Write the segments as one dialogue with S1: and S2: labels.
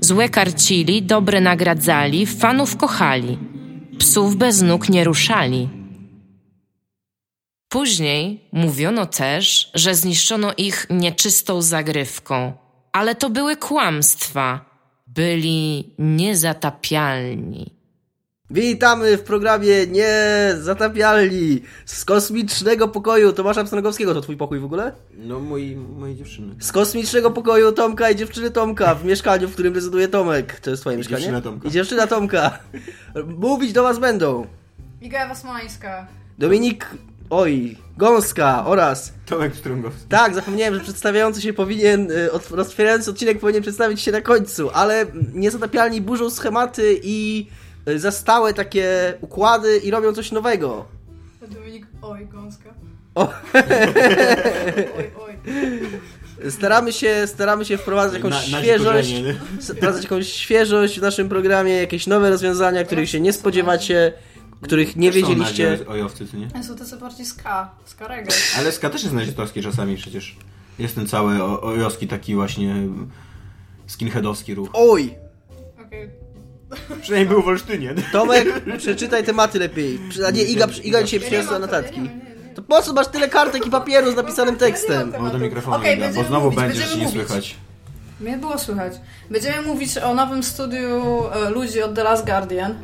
S1: Złe karcili, dobre nagradzali, fanów kochali. Psów bez nóg nie ruszali. Później mówiono też, że zniszczono ich nieczystą zagrywką, ale to były kłamstwa. Byli niezatapialni.
S2: Witamy w programie Niezatapialni z kosmicznego pokoju Tomasza Pstrągowskiego. To twój pokój w ogóle?
S3: No, moi, mojej dziewczyny.
S2: Z kosmicznego pokoju Tomka i dziewczyny Tomka w mieszkaniu, w którym rezyduje Tomek. To jest twoje mieszkanie?
S3: dziewczyna Tomka.
S2: I dziewczyna Tomka. Mówić do was będą
S4: Iga Wasmańska.
S2: Dominik, oj, Gąska oraz...
S3: Tomek Pstrągowski.
S2: Tak, zapomniałem, że przedstawiający się powinien, y, od- roztwierający odcinek powinien przedstawić się na końcu, ale Niezatapialni burzą schematy i y, zastałe takie układy i robią coś nowego.
S4: Dominik, oj, gąska.
S2: O.
S4: Oj, oj.
S2: Staramy się, staramy się wprowadzać jakąś świeżość, wprowadzać jakąś świeżość w naszym programie, jakieś nowe rozwiązania, których się nie spodziewacie, których nie wiedzieliście.
S3: Ojowcy, co nie?
S4: Są tacy bardziej ska, ska reggae.
S3: Ale ska też jest nazistowski czasami przecież. Jest ten cały o- ojowski taki właśnie mm, skinheadowski ruch.
S2: Oj,
S4: Okej.
S3: Przynajmniej był w Olsztynie.
S2: Tomek, przeczytaj tematy lepiej. Przy- A nie, Iga, Iga dzisiaj
S4: Ja nie mam
S2: przyniosła
S4: tego,
S2: notatki.
S4: nie, nie, nie.
S2: To po co masz tyle kartek i papieru z napisanym
S4: Ja nie
S2: tekstem?
S4: mam
S3: Mów do
S4: tematu.
S3: mikrofonu,
S4: No Okej,
S3: Iga, bo
S4: będziemy
S3: znowu
S4: mówić,
S3: będziesz
S4: będziemy
S3: nie
S4: mówić.
S3: słychać.
S4: Mnie było słychać. Będziemy mówić o nowym studiu e, ludzi od The Last Guardian.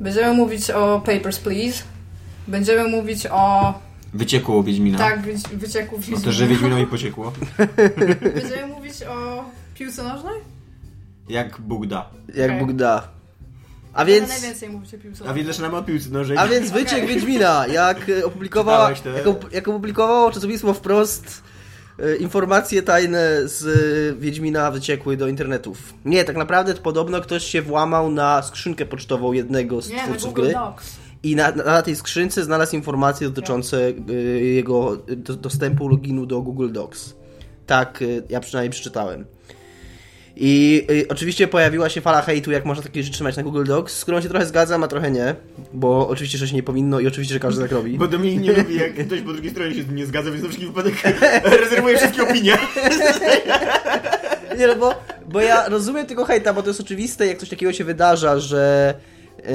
S4: Będziemy mówić o Papers, Please. Będziemy mówić o...
S3: Wyciekło u Wiedźmina.
S2: No.
S4: Tak, wyci- wycieku w
S3: No też, że Wiedźminowi pociekło.
S4: Będziemy mówić o piłce nożnej?
S3: Jak Bóg da.
S2: Jak
S4: Okej.
S2: Bóg da. A
S4: Będę
S2: więc,
S4: najwięcej mówić o piłce
S3: A więc
S4: nożnej.
S3: zaczynamy od piłce nożej.
S2: a więc wyciek Wiedźmina, jak e, opublikowała,
S3: Czytałeś te-
S2: jak, op- jak opublikowało czasopismo wprost e, informacje tajne z e, Wiedźmina wyciekły do internetów. Nie, tak naprawdę podobno ktoś się włamał na skrzynkę pocztową jednego z
S4: Nie, na
S2: twórców
S4: Google
S2: gry
S4: Docs.
S2: i na, na tej skrzynce znalazł informacje dotyczące e, jego do, dostępu loginu do Google Docs. Tak, e, ja przynajmniej przeczytałem. I y, oczywiście pojawiła się fala hejtu, jak można takie rzeczy trzymać na Google Docs, z którą się trochę zgadzam, a trochę nie, bo oczywiście, że się nie powinno i oczywiście, że każdy tak robi.
S3: Bo Dominik nie lubi, jak ktoś po drugiej stronie się z tym nie zgadza, więc na wszelki wypadek rezerwuje wszystkie opinie.
S2: Nie, no bo, bo ja rozumiem tego hejta, bo to jest oczywiste, jak coś takiego się wydarza, że, yy,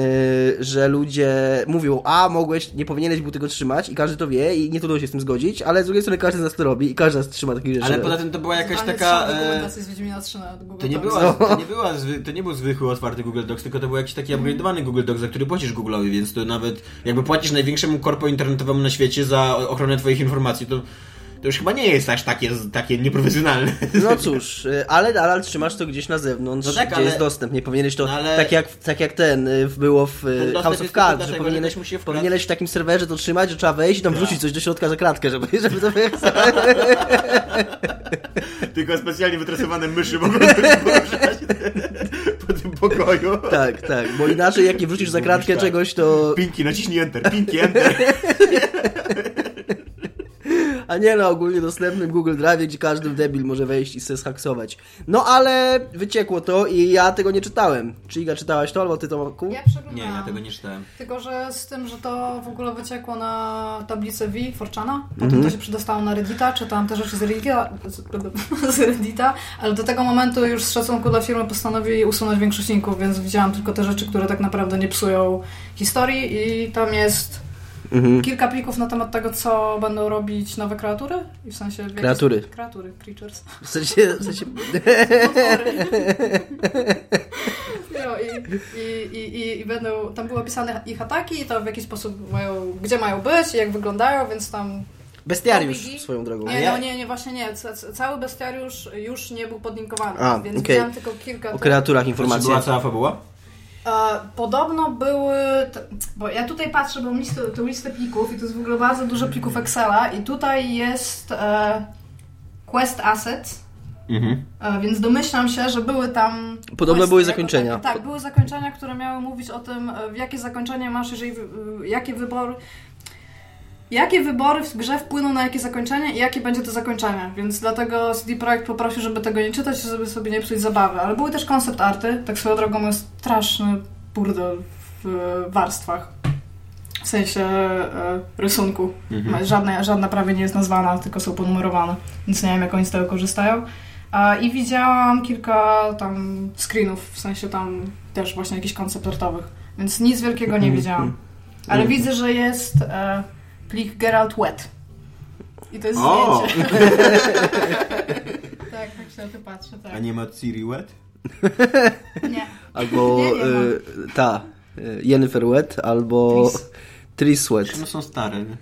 S2: że ludzie mówią, a mogłeś, nie powinieneś był tego trzymać i każdy to wie i nie trudno się z tym zgodzić, ale z drugiej strony każdy z nas to robi i każdy z nas trzyma takich rzeczy.
S3: Ale poza tym to była jakaś
S4: Zdalny
S3: taka...
S4: strzał
S3: e,
S4: dokumentacji z Wiedźmina 3 na Google
S2: No
S3: To nie,
S4: Docs.
S3: była,
S2: tak.
S3: to, nie była, zwy- to nie był zwykły otwarty Google Docs, tylko to był jakiś taki upgrade'owany Google Docs, za który płacisz Google'owi, więc to nawet jakby płacisz największemu korpo internetowemu na świecie za ochronę twoich informacji, to, to już chyba nie jest aż takie, takie nieprofesjonalne.
S2: No cóż, y, ale nadal trzymasz to gdzieś na zewnątrz,
S3: No tak,
S2: gdzie
S3: ale-
S2: jest dostęp. Nie powinieneś to,
S3: No ale-
S2: tak, jak, tak jak ten y, było w y,
S3: dostęp
S2: House of
S3: jest tylko
S2: Cards, że
S3: dlatego, że
S2: powinieneś,
S3: ktoś musi Tak. je wkradać.
S2: powinieneś w takim serwerze to trzymać, że trzeba wejść i tam wrzucić coś do środka za kratkę, żeby, żeby to
S3: tylko specjalnie wytresowane myszy mogą poruszać po tym pokoju.
S2: Tak, tak, bo inaczej jak nie wrzucisz za kratkę
S3: Tak.
S2: czegoś, to...
S3: Pinki, naciśnij Enter, Pinki, Enter.
S2: A nie na ogólnie dostępnym Google Drive, gdzie każdy debil może wejść i se zhaksować. No ale wyciekło to i ja tego nie czytałem. Czy Iga czytałaś to albo ty to?
S4: Ja przeglądałam.
S3: Nie, ja tego nie czytałem.
S4: Tylko, że z tym, że to w ogóle wyciekło na tablicę V, Forczana, potem
S2: Mhm.
S4: to się przedostało na Reddita, czytałam te rzeczy z Reddita, z, z Reddita, ale do tego momentu już z szacunku dla firmy postanowili usunąć większość linków, więc widziałam tylko te rzeczy, które tak naprawdę nie psują historii i tam jest
S2: Mhm.
S4: kilka plików na temat tego, co będą robić nowe kreatury i w sensie... w jaki-
S2: Kreatury.
S4: Kreatury, creatures.
S2: W sensie, w sensie...
S4: No, i, i, i, i, i będą, tam były opisane ich ataki i to w jaki sposób mają, gdzie mają być i jak wyglądają, więc tam...
S2: Bestiariusz swoją drogą.
S4: Nie,
S3: ja-
S4: no nie, nie, właśnie nie, ca- ca- cały bestiariusz już nie był podlinkowany,
S2: A,
S4: więc
S2: okej.
S4: widziałam tylko kilka...
S2: O
S4: tych-
S2: kreaturach
S3: Czy
S2: informacje.
S3: Znaczy, była cała fabuła?
S4: E, podobno były, t- bo ja tutaj patrzę, bo listę, tą listę plików i to jest w ogóle bardzo dużo plików Excela i tutaj jest e, Quest Assets,
S3: Mhm.
S4: E, Więc domyślam się, że były tam.
S2: Podobne
S4: quest-
S2: były
S4: jako-
S2: zakończenia.
S4: Tak, były zakończenia, które miały mówić o tym, e, jakie zakończenie masz, jeżeli. wy- Jakie wybory. Jakie wybory w grze wpłyną na jakie zakończenie i jakie będzie to zakończenie. Więc dlatego CD Projekt poprosił, żeby tego nie czytać, żeby sobie nie psuć zabawy. Ale były też koncept arty. Tak swoją drogą jest straszny burdel w e, warstwach. W sensie e, rysunku.
S3: Mhm.
S4: Żadna, żadna prawie nie jest nazwana, tylko są ponumerowane, więc nie wiem, jak oni z tego korzystają. A, I widziałam kilka tam screenów, w sensie tam też właśnie jakichś konceptortowych, więc nic wielkiego
S3: Mhm.
S4: nie widziałam. Ale widzę, że jest e, plik Geralt Wet. I to jest
S3: O!
S4: zdjęcie. tak, tak się na to patrzę,
S3: A
S4: tak.
S3: nie ma Ciri Wet?
S4: Nie.
S2: Albo
S4: Nie, nie ma.
S2: y, ta, y, Jennifer Wet, albo
S4: Tris.
S2: Tris Wet.
S3: One są stare, nie?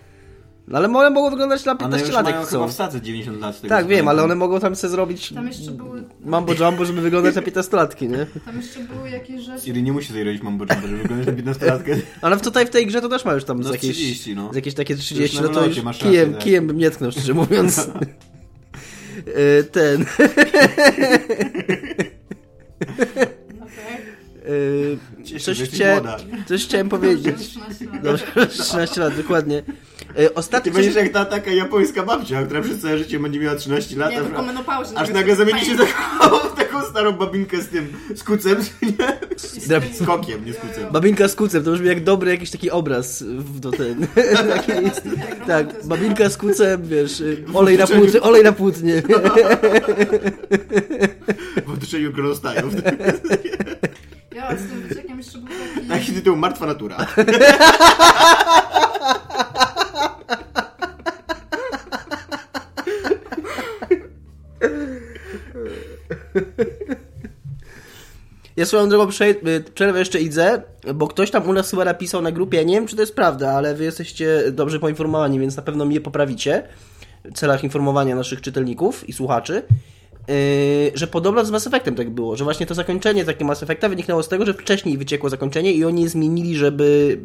S2: No, ale one mogą wyglądać na
S3: One
S2: 15
S3: już
S2: lat,
S3: mają
S2: jak
S3: chyba
S2: chcą.
S3: w sadze 90 lat. z tego,
S2: Tak,
S3: co
S2: wiem, ale one
S3: pamiętam.
S2: mogą tam sobie zrobić
S4: Tam jeszcze były,
S2: mambo jumbo, żeby wyglądać na 15-latki, nie?
S4: tam jeszcze były jakieś rzeczy.
S3: Ciri nie musi zajrzeć mambo jumbo, żeby wyglądać na 15-latkę.
S2: Ale w- tutaj w tej grze to też ma już tam
S3: No
S2: z jakieś,
S3: 30, no.
S2: z jakieś takie 30,
S3: Już
S2: no
S3: na
S2: to
S3: wylocie
S2: już
S3: masz rację,
S2: kijem,
S3: tak.
S2: kijem bym nie tknął, szczerze mówiąc. Y, Ten.
S4: tak? Okej.
S2: y,
S3: Cieszę,
S2: Coś
S3: że jesteś
S2: chciałem,
S3: młoda.
S2: coś chciałem
S4: Dobrze,
S2: powiedzieć.
S4: 13 lat.
S2: Dobrze, 13 lat, dokładnie. Y,
S3: Ty
S2: Ostatnio
S3: będziesz jak ta taka japońska babcia, która przez całe życie będzie miała 13 lat,
S4: Nie, tylko
S3: aż,
S4: menopauzy. no,
S3: aż nagle zamieni się taką, w taką starą babinkę z tym, z kucem, nie? Z kokiem, nie z kucem.
S2: Babinka z kucem, to brzmi jak dobry jakiś taki obraz w, do ten.
S4: Tak,
S2: Tak,
S4: tak
S2: babinka z kucem, wiesz, y, olej na płótnie, olej na płótnie.
S3: W otoczeniu królostajów.
S4: Ja z tym wyciekiem jeszcze był taki...
S3: Taki tytuł Martwa Natura.
S2: Ja swoją drogą prze, y, przerwę jeszcze idę, bo ktoś tam u nas chyba napisał na grupie, ja nie wiem czy to jest prawda, ale wy jesteście dobrze poinformowani, więc na pewno mnie poprawicie w celach informowania naszych czytelników i słuchaczy, y, że podobno z Mass Effectem tak było, że właśnie to zakończenie takie Mass Effecta wyniknęło z tego, że wcześniej wyciekło zakończenie i oni je zmienili, żeby,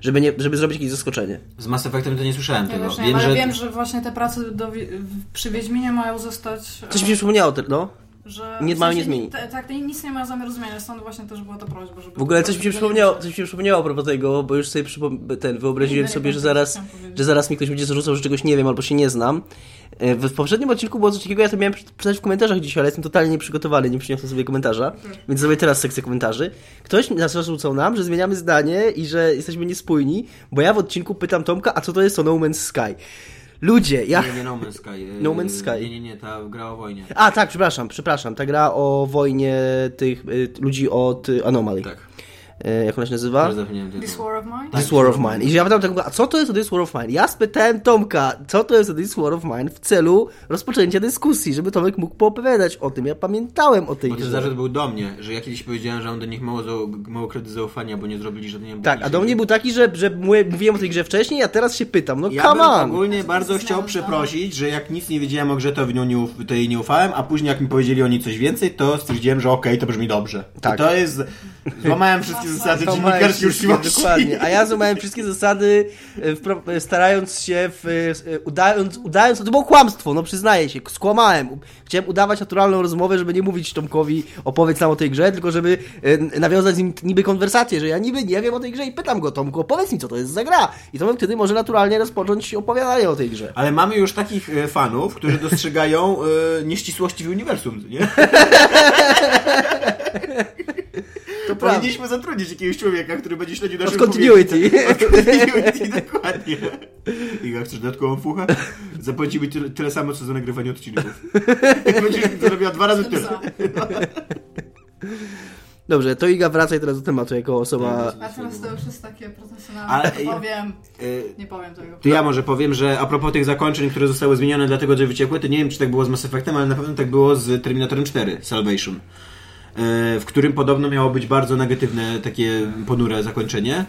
S2: żeby, nie, żeby zrobić jakieś zaskoczenie.
S3: Z Mass Effectem to nie słyszałem
S4: Nie,
S3: tego.
S4: też nie, wiem, ale wiem, że właśnie te prace do, wi- w- przy Wiedźminie mają zostać. e,
S2: Coś mi się przypomniało, te- no.
S4: że
S2: nie
S4: w
S2: mają nie
S4: sensie
S2: zmienić.
S4: Te, tak, te nic nie ma zamiaru zmieniać, stąd właśnie też była ta prośba, żeby.
S2: W ogóle coś mi się
S4: żeby-
S2: przypomniało, coś mi się przypomniało a propos tego, bo już sobie przypom- ten, wyobraziłem
S4: Nie, nie
S2: sobie, że
S4: pamiętam,
S2: zaraz,
S4: co chciałam powiedzieć.
S2: że zaraz mi ktoś będzie zarzucał, że czegoś nie wiem albo się nie znam. E, W w poprzednim odcinku było coś takiego, ja to miałem przy- przeczytać w komentarzach dzisiaj, ale jestem totalnie nieprzygotowany, nie przyniosłem sobie komentarza,
S4: Mhm.
S2: więc zrobię teraz sekcję komentarzy. Ktoś nas zarzucał nam, że zmieniamy zdanie i że jesteśmy niespójni, bo ja w odcinku pytam Tomka, a co to jest to No Man's Sky? Ludzie, ja...
S3: Nie, nie No Man's Sky. e,
S2: No Man's Sky.
S3: Nie, nie, nie, ta gra o wojnie.
S2: A tak, przepraszam, przepraszam, ta gra o wojnie tych y, ludzi od y, Anomaly.
S3: Tak.
S2: E, Jak ona się nazywa?
S3: Teraz zapomniałem
S4: This
S3: tytułu.
S4: War of Mine?
S3: Tak.
S2: This War of Mine. I ja pytam tego, a co to jest This War of Mine? Ja spytałem Tomka, co to jest This War of Mine w celu rozpoczęcia dyskusji, żeby Tomek mógł poopowiadać o tym. Ja pamiętałem o tej
S3: Bo ten
S2: grze.
S3: zarzut był do mnie, że ja kiedyś powiedziałem, że mam do nich mało, zau- mało kredytu zaufania, bo nie zrobili żadnej
S2: Tak, a do mnie był taki, że, że mówię- mówiłem o tej grze wcześniej, a teraz się pytam. No
S3: Ja
S2: come
S3: bym
S2: on!
S3: ogólnie bardzo chciał
S4: Znalazłam.
S3: przeprosić, że jak nic nie wiedziałem o grze, to, w nią nie uf- to jej nie ufałem, a później jak mi powiedzieli oni coś więcej, to stwierdziłem, że okej, to brzmi dobrze.
S2: Tak.
S3: I to jest... Złamałem wszystkie zasady
S2: To mają
S3: dziennikarskiej
S2: wszystkie-
S3: uczciwości.
S2: Dokładnie. A ja złamałem wszystkie zasady, e, wpro- e, starając się, w, e, udając, udając, to było kłamstwo, no przyznaję się, skłamałem. U- Chciałem udawać naturalną rozmowę, żeby nie mówić Tomkowi opowiedz nam o tej grze, tylko żeby e, n- nawiązać z nim t- niby konwersację, że ja niby nie wiem o tej grze i pytam go, Tomku, powiedz mi, co to jest za gra. I Tomek wtedy może naturalnie rozpocząć opowiadanie o tej grze.
S3: Ale mamy już takich e, fanów, którzy dostrzegają e, nieścisłości w uniwersum, nie?
S2: To prawda.
S3: Powinniśmy zatrudnić jakiegoś człowieka, który będzie śledził naszą
S2: Od continuity.
S3: Continuity, dokładnie. I jak chcesz dodatkową fuchę? Zapłacimy tyle, tyle samo, co za nagrywanie odcinków. Będziesz zarobiła dwa razy
S4: Jestem
S3: tyle.
S4: za.
S2: Dobrze, to Iga, wracaj teraz do tematu jako osoba...
S4: A teraz to już jest takie profesjonalne.
S3: Ale-
S4: nie powiem,
S3: E,
S4: nie powiem tego.
S3: To ja może powiem, że a propos tych zakończeń, które zostały zmienione dlatego, że wyciekły, to nie wiem, czy tak było z Mass Effectem, ale na pewno tak było z Terminatorem 4 Salvation. e, W którym podobno miało być bardzo negatywne, takie ponure zakończenie,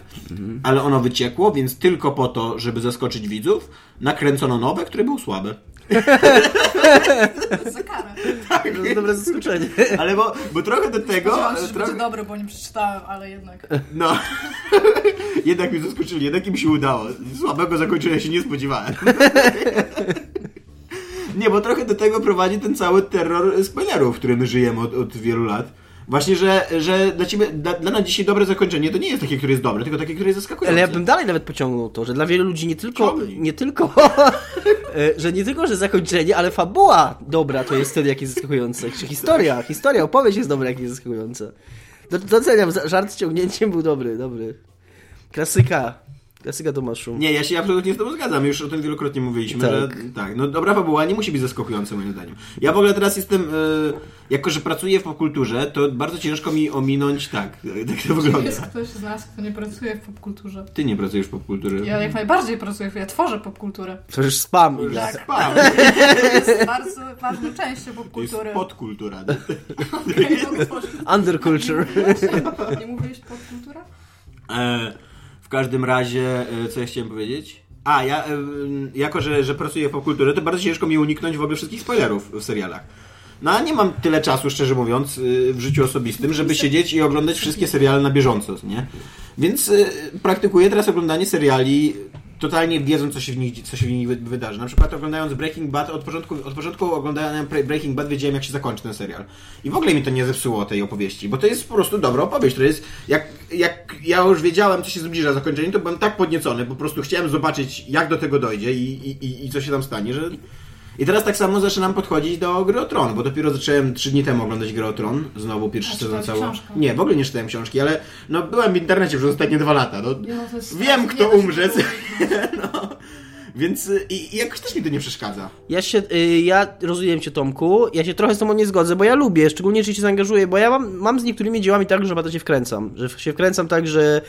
S3: ale ono wyciekło, więc tylko po to, żeby zaskoczyć widzów, nakręcono nowe, które było słabe.
S4: Za karę.
S3: Tak,
S2: To jest dobre zaskoczenie.
S3: ale bo, bo trochę do tego.
S4: Spodziewałam się, że
S3: Trochę,
S4: będzie dobry, bo nie przeczytałem, ale jednak.
S3: no. Jednak mi zaskoczyli, jednak im się udało. Słabego zakończenia się nie spodziewałem. Nie, bo trochę do tego prowadzi ten cały terror spoilerów, w którym żyjemy od, od wielu lat. Właśnie, że, że dla ciebie, dla, dla nas dzisiaj dobre zakończenie to nie jest takie, które jest dobre, tylko takie, które jest zaskakujące.
S2: Ale ja bym dalej nawet pociągnął to, że dla wielu ludzi nie tylko,
S3: Ciągnij.
S2: nie tylko, e, że nie tylko, że zakończenie, ale fabuła dobra to jest wtedy, jak jest zaskakujące. Czy historia, historia, opowieść jest dobra, jak jest zaskakująca. Do- Doceniam, za- żart z ciągnięciem był dobry, dobry. Klasyka, klasyka Tomaszu.
S3: Nie, ja się absolutnie z tobą zgadzam, już o tym wielokrotnie mówiliśmy,
S2: Tak.
S3: że tak, no dobra fabuła nie musi być zaskakująca moim zdaniem. Ja w ogóle teraz jestem, y, jako że pracuję w popkulturze, to bardzo ciężko mi ominąć, tak, tak to
S4: Jest
S3: wygląda.
S4: ktoś z nas, kto nie pracuje w popkulturze.
S3: Ty nie pracujesz w popkulturze.
S4: Ja jak najbardziej pracuję, ja tworzę popkulturę.
S2: To już spam.
S4: Tak.
S3: Spam.
S4: Jest bardzo ważną częścią
S3: To jest
S4: popkultury.
S3: podkultura.
S2: Underculture.
S4: Nie mówisz popkultura?
S3: E, w każdym razie, e, co ja chciałem powiedzieć? A, ja, e, jako że, że pracuję w popkulturze, to bardzo ciężko mi uniknąć w ogóle wszystkich spoilerów w serialach. No, a nie mam tyle czasu, szczerze mówiąc, e, w życiu osobistym, żeby siedzieć i oglądać wszystkie seriale na bieżąco, nie? Więc e, praktykuję teraz oglądanie seriali totalnie wiedząc, co się w nich, co się w nich wy- wydarzy. Na przykład oglądając Breaking Bad, od początku, od początku oglądania Pre- Breaking Bad wiedziałem, jak się zakończy ten serial. I w ogóle mi to nie zepsuło tej opowieści, bo to jest po prostu dobra opowieść. To jest, jak, jak ja już wiedziałem, co się zbliża zakończenie, to byłem tak podniecony, po prostu chciałem zobaczyć, jak do tego dojdzie i, i, i, i co się tam stanie, że... I teraz tak samo zaczynam podchodzić do Gry o Tron, bo dopiero zacząłem 3 dni temu oglądać Gry o Tron, znowu
S4: A
S3: pierwszy sezon
S4: czytałeś
S3: cały.
S4: książkę?
S3: Nie, w ogóle nie czytałem książki, ale no byłem w internecie przez ostatnie dwa lata. No,
S4: Nie, no to jest-
S3: Wiem,
S4: nie
S3: kto
S4: da się
S3: umrze.
S4: tego
S3: no. Więc y, i, i jakoś też mi to nie przeszkadza.
S2: Ja się, y, ja rozumiem cię Tomku, ja się trochę z tobą nie zgodzę, bo ja lubię, szczególnie jeśli się zaangażuję, bo ja mam, mam z niektórymi dziełami tak, że naprawdę się wkręcam, że w- się wkręcam tak, że,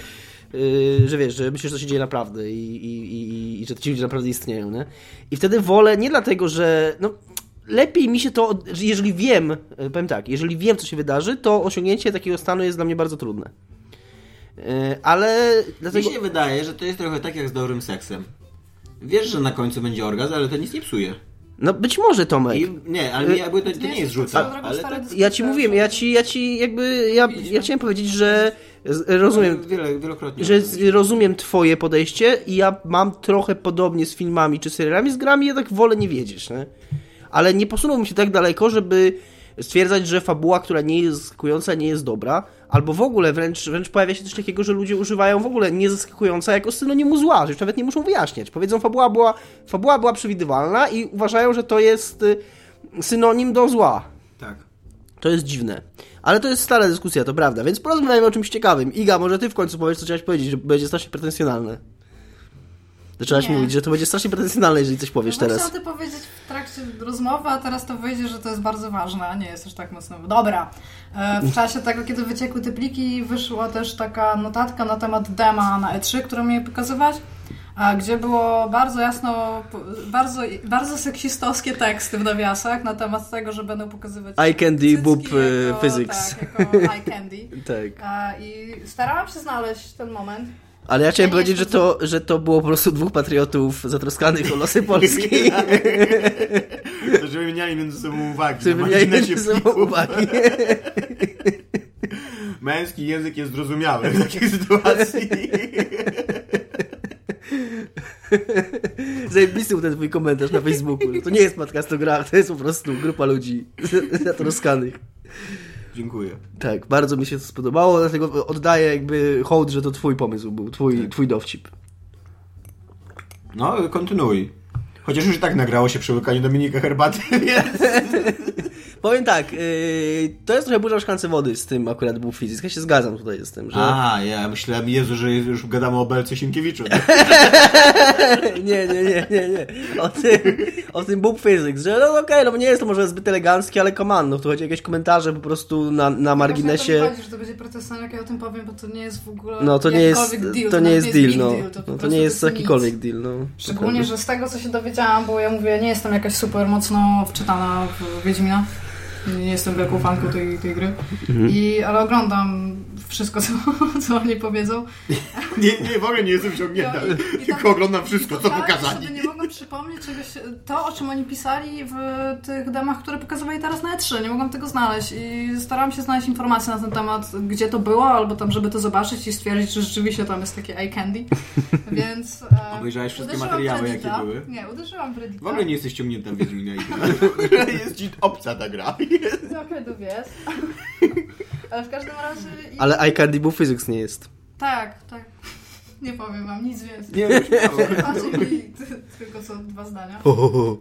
S2: y, że wiesz, że myślisz, że to się dzieje naprawdę i, i, i, i, i że ci ludzie naprawdę istnieją, nie? I wtedy wolę, nie dlatego, że, no, lepiej mi się to, od- że jeżeli wiem, y, powiem tak, jeżeli wiem, co się wydarzy, to osiągnięcie takiego stanu jest dla mnie bardzo trudne. Y, Ale dlatego...
S3: Mi się wydaje, że to jest trochę tak jak z dobrym seksem. Wiesz, że na końcu będzie orgazm, ale to nic nie psuje.
S2: No być może, Tomek.
S3: I, nie, ale nie, bo to, to nie jest
S4: to
S3: rzuca.
S4: są drogo
S3: Ale
S4: stare
S3: to,
S4: dyskusje.
S2: Ja ci mówiłem, ja ci, ja ci jakby, ja, ja chciałem powiedzieć, że z- rozumiem,
S3: Wiele, wielokrotnie.
S2: że z- rozumiem twoje podejście i ja mam trochę podobnie z filmami czy serialami, z grami jednak wolę nie wiedzieć, nie? Ale nie posunąłbym się tak daleko, żeby stwierdzać, że fabuła, która nie jest zaskakująca, nie jest dobra, albo w ogóle wręcz, wręcz pojawia się coś takiego, że ludzie używają w ogóle niezaskakująca jako synonimu zła, że już nawet nie muszą wyjaśniać. Powiedzą, fabuła była, fabuła była przewidywalna i uważają, że to jest y, synonim do zła.
S3: Tak.
S2: To jest dziwne. Ale to jest stara dyskusja, to prawda. Więc porozmawiajmy o czymś ciekawym. Iga, może ty w końcu powiesz, co chciałaś powiedzieć, że będzie strasznie pretensjonalne. Zaczęłaś
S4: Nie.
S2: mówić, że to będzie strasznie pretensjonalne, jeżeli coś powiesz
S4: no
S2: teraz.
S4: Chciałam to powiedzieć w trakcie rozmowy, a teraz to wyjdzie, że to jest bardzo ważne, a nie jest aż tak mocno. Dobra. E, W czasie tego, kiedy wyciekły te pliki, wyszła też taka notatka na temat dema na E3, którą mieli pokazywać, a gdzie było bardzo jasno, bardzo, bardzo seksistowskie teksty w nawiasach na temat tego, że będą pokazywać
S2: Eye candy,
S4: cycki
S2: boob, e,
S4: jako-
S2: physics.
S4: Tak, jako eye candy.
S2: Tak.
S4: A, I starałam się znaleźć ten moment,
S2: Ale ja chciałem
S4: Ja
S2: powiedzieć, że
S4: nie
S2: to, że to było po prostu dwóch patriotów zatroskanych o losy Polski,
S3: To, że wymieniali między sobą uwagi. no,
S2: którzy
S3: na
S2: mieli
S3: marginesie
S2: między sobą
S3: pliku.
S2: uwagi.
S3: Męski język jest zrozumiały w takiej sytuacji.
S2: Zajebisty był ten twój komentarz na Facebooku. że To nie jest podcast o grach, to jest po prostu grupa ludzi zatroskanych.
S3: Dziękuję.
S2: Tak, bardzo mi się to spodobało, dlatego oddaję jakby hołd, że to twój pomysł był, twój, twój dowcip.
S3: No, kontynuuj. Chociaż już i tak nagrało się przy łykaniu Dominika herbaty, więc...
S2: Powiem tak, yy, to jest trochę burza w szklance wody z tym akurat był fizyk. Ja się zgadzam tutaj z tym, że...
S3: A, ja myślałem, Jezu, że już gadamy o Belce Sienkiewiczu.
S2: Nie, nie, nie, nie, nie. O tym, o tym boob physics, że no okej, no bo nie jest to może zbyt elegancki, ale command, no tu chodzi o jakieś komentarze po prostu na, na
S4: Właśnie o
S2: marginesie.
S4: to mi chodzi, że to będzie protestant, jak ja o tym powiem, bo to nie jest w ogóle
S2: No to nie jest,
S4: jakikolwiek
S2: to nie
S4: nawet
S2: jest deal,
S4: big
S2: no.
S4: deal, po
S2: no to
S4: prostu
S2: nie jest
S4: nic.
S2: jakikolwiek deal, no.
S4: Szczególnie, że z tego, co się dowiedziałam, bo ja mówię, nie jestem jakaś super mocno wczytana w Wiedźmina. Nie jestem wielką fanką tej, tej gry.
S2: Mhm.
S4: I, ale oglądam wszystko, co, co oni powiedzą.
S3: Nie, nie, w ogóle nie jestem
S4: I-
S3: wciągnięta.
S4: i- i tak-
S3: Tylko oglądam wszystko, co
S4: totalnie
S3: pokazali.
S4: Sobie tak, nie mogłam przypomnieć czegoś, to o czym oni pisali w tych demach, które pokazywali teraz na E3. Nie mogłam tego znaleźć i starałam się znaleźć informacje na ten temat, gdzie to było, albo tam, żeby to zobaczyć i stwierdzić, że rzeczywiście tam jest takie eye candy. Więc. E,
S3: Obejrzałeś wszystkie
S4: uderzyłam
S3: materiały,
S4: w
S3: jakie
S4: Reddita.
S3: były?
S4: Nie, uderzyłam w Reddita.
S3: W ogóle nie jesteś ciągnięta w Wiedźmina i Jest ci obca ta gra.
S4: Trochę dubies. Ale w każdym razie. i-
S2: Ale iCandy Boo Physics nie jest.
S4: Tak, tak. Nie powiem wam nic więcej.
S3: Nie, już miałem.
S4: Czyli ty- tylko są dwa zdania.
S2: Ho, ho, ho.